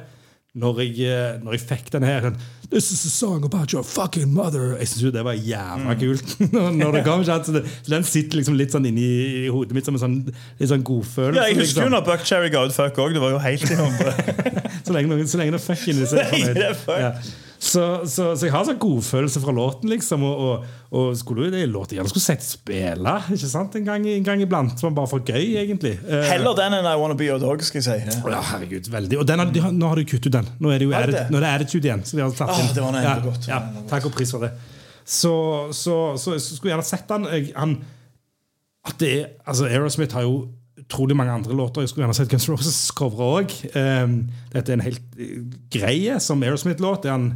Speaker 3: når jeg, eh, når jeg fikk den her. Sånn, This is a song about your fucking mother Jeg syns jo det var
Speaker 2: Mm.
Speaker 3: jævla kult. [laughs] når- når det kom, ikke sant? så, det, så Den sitter liksom litt sånn inni i hodet mitt som en sånn, litt sånn
Speaker 2: [laughs]
Speaker 3: godfølelse.
Speaker 2: Ja, jeg husker
Speaker 3: liksom.
Speaker 2: jo når Buck Cherry ga ut fuck òg. Det var jo helt [laughs] i håndbrevet.
Speaker 3: [laughs] Så lenge, noen, så lenge det er fuck inni, så er jeg
Speaker 2: [laughs] Så lenge det er
Speaker 3: fornøyd.
Speaker 2: fuck.
Speaker 3: Ja. Så, så, så jeg har sånn godfølelse fra låten, liksom. Og, og, og skulle jo det er en låt jeg gjerne skulle sett spille Ikke sant, en gang, en gang iblant. Som bare for gøy, egentlig. Eh,
Speaker 2: Heller den enn I Wanna Be Your Dog. skal jeg si
Speaker 3: ja, herregud, veldig. Og den har, de har, nå har de kuttet ut den. Nå er det jo
Speaker 2: Har de
Speaker 3: atti-
Speaker 2: det?
Speaker 3: nå er det attitude igjen. Så de har tatt
Speaker 2: Ah,
Speaker 3: inn.
Speaker 2: det var nå
Speaker 3: ja,
Speaker 2: endelig godt.
Speaker 3: Ja, takk og pris for det. Så, så, så, så skulle jeg gjerne sett den. Jeg, han at det er, altså Aerosmith har jo utrolig mange andre låter. Jeg skulle gjerne sett Guns N' Roses covere òg. dette er en helt eh, greie som Aerosmith-låt. Det er han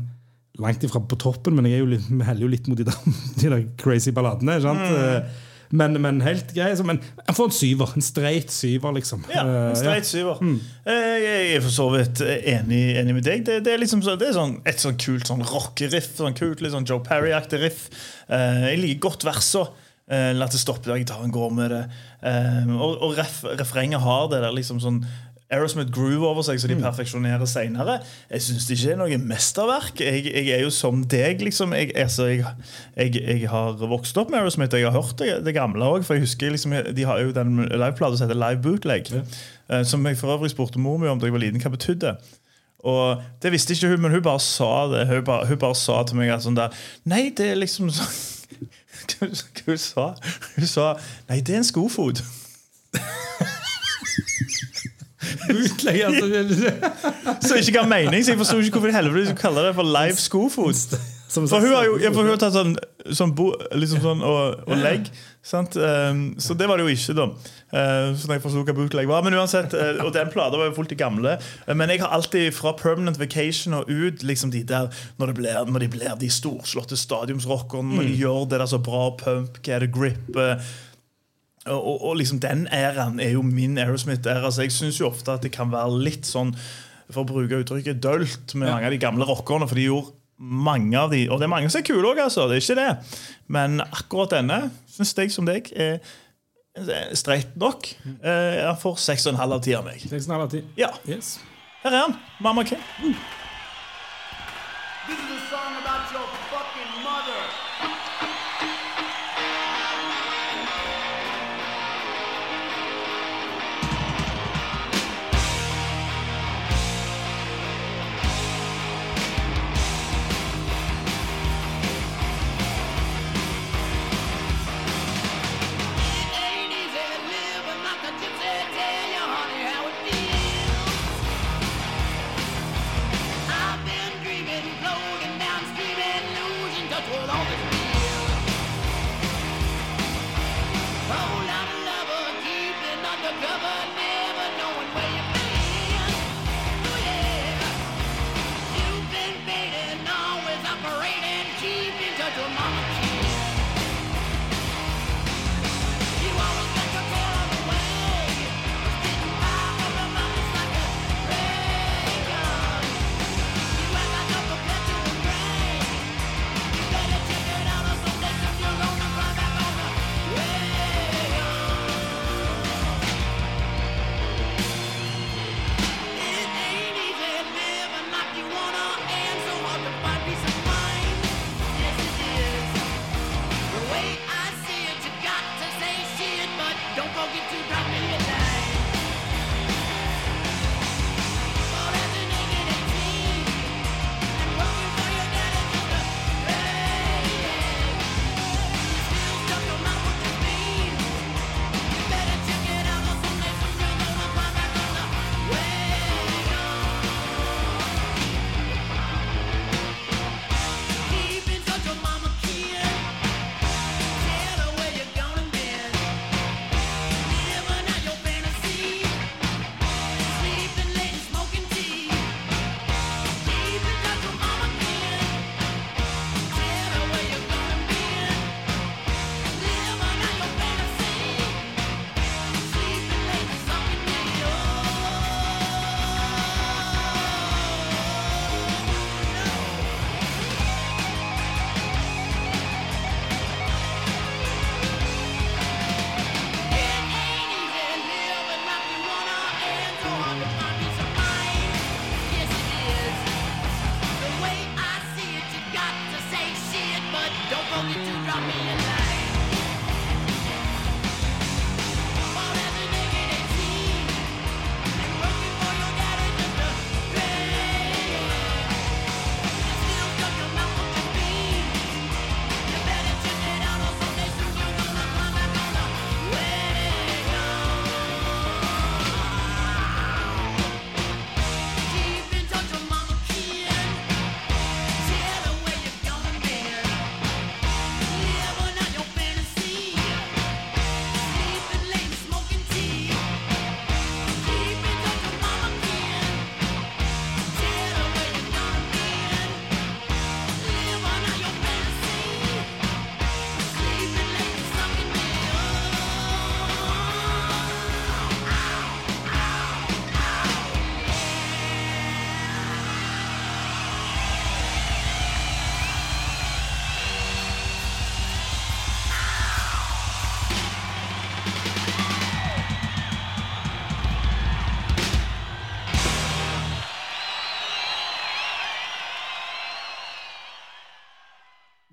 Speaker 3: langt ifra på toppen, men jeg er jo litt, vi heller jo litt mot de der, [laughs] de der crazy balladene. ikke sant?
Speaker 2: Mm.
Speaker 3: Eh, Men, men helt grei. så- Men han får en syver. En streit syver, liksom.
Speaker 2: Ja,
Speaker 3: Eh,
Speaker 2: en streit syver. Eh, Jeg er for så vidt enig, enig med deg. Det, det er liksom så, det er sånn, et sånn kult sånn rockeriff. Sånn kult, litt sånn Joe Perry-aktig riff. Eh, Jeg liker godt versa. Eh, la det stoppe der gitaren går med det. Eh, og og ref, refrenget har det der liksom sånn Aerosmith groove over seg, så de perfeksjonerer seinere. Jeg syns det ikke er noe mesterverk. Jeg, jeg er jo som deg, liksom. Jeg, altså, jeg, jeg, jeg har vokst opp med Aerosmith. Jeg har hørt det, det gamle òg. For jeg husker liksom, de har jo den liveplata som heter Live Bootleg. eh, Som jeg for øvrig spurte mor mi om da jeg var liten, hva betydde. Og det visste ikke hun, men hun bare sa det. Hun bare, hun bare sa til meg at sånn der Nei, det er liksom sånn [laughs] Hva hva hun sa Hun sa Nei, det er en skofot.
Speaker 3: Utlegger, altså,
Speaker 2: Som ikke ga mening, [laughs] så jeg forsto ikke hvorfor i helvete du kaller det for live skofot.
Speaker 3: som
Speaker 2: For hun har jo ja, for hun har tatt sånn, sånn, bo, liksom sånn og, og legg. Sant? Um, så det var det jo ikke, da. Uh, så jeg forsto hva bootleg var. Men uansett, uh, Og den plata var jo fullt i gamle. Uh, men jeg har alltid, fra Permanent Vacation og ut, liksom de der når, det blir, når de blir de storslåtte stadiumsrockerne, når de gjør det der så bra, pump, get a grip uh, og, og, og liksom den æraen er jo min Aerosmith-æra. Så jeg syns jo ofte at det kan være litt sånn, for å bruke uttrykket, dølt med mange av de gamle rockerne. For de gjorde mange av de Og det er mange som er kule òg, altså. Det er ikke det. Men akkurat denne syns jeg, som deg, er streit nok. Eh, Han får 6,5 av 10 av meg.
Speaker 3: Teksten er alltid
Speaker 2: Ja,
Speaker 3: Yes.
Speaker 2: her er han. Mamma K.
Speaker 7: This is a song about your fucking mother.
Speaker 4: Undercover, never knowing where you've been. Oh yeah, you've been baiting, always operating, keeping touch with mama kids. You always got your tail on the way, getting by from your mama's like a ray gun. You act like a perpetual gray. You better check it out or some days if you're gonna cry back on the ray gun. It ain't easy living like you wanna, and so hard to find peace of mind. Yes, it is.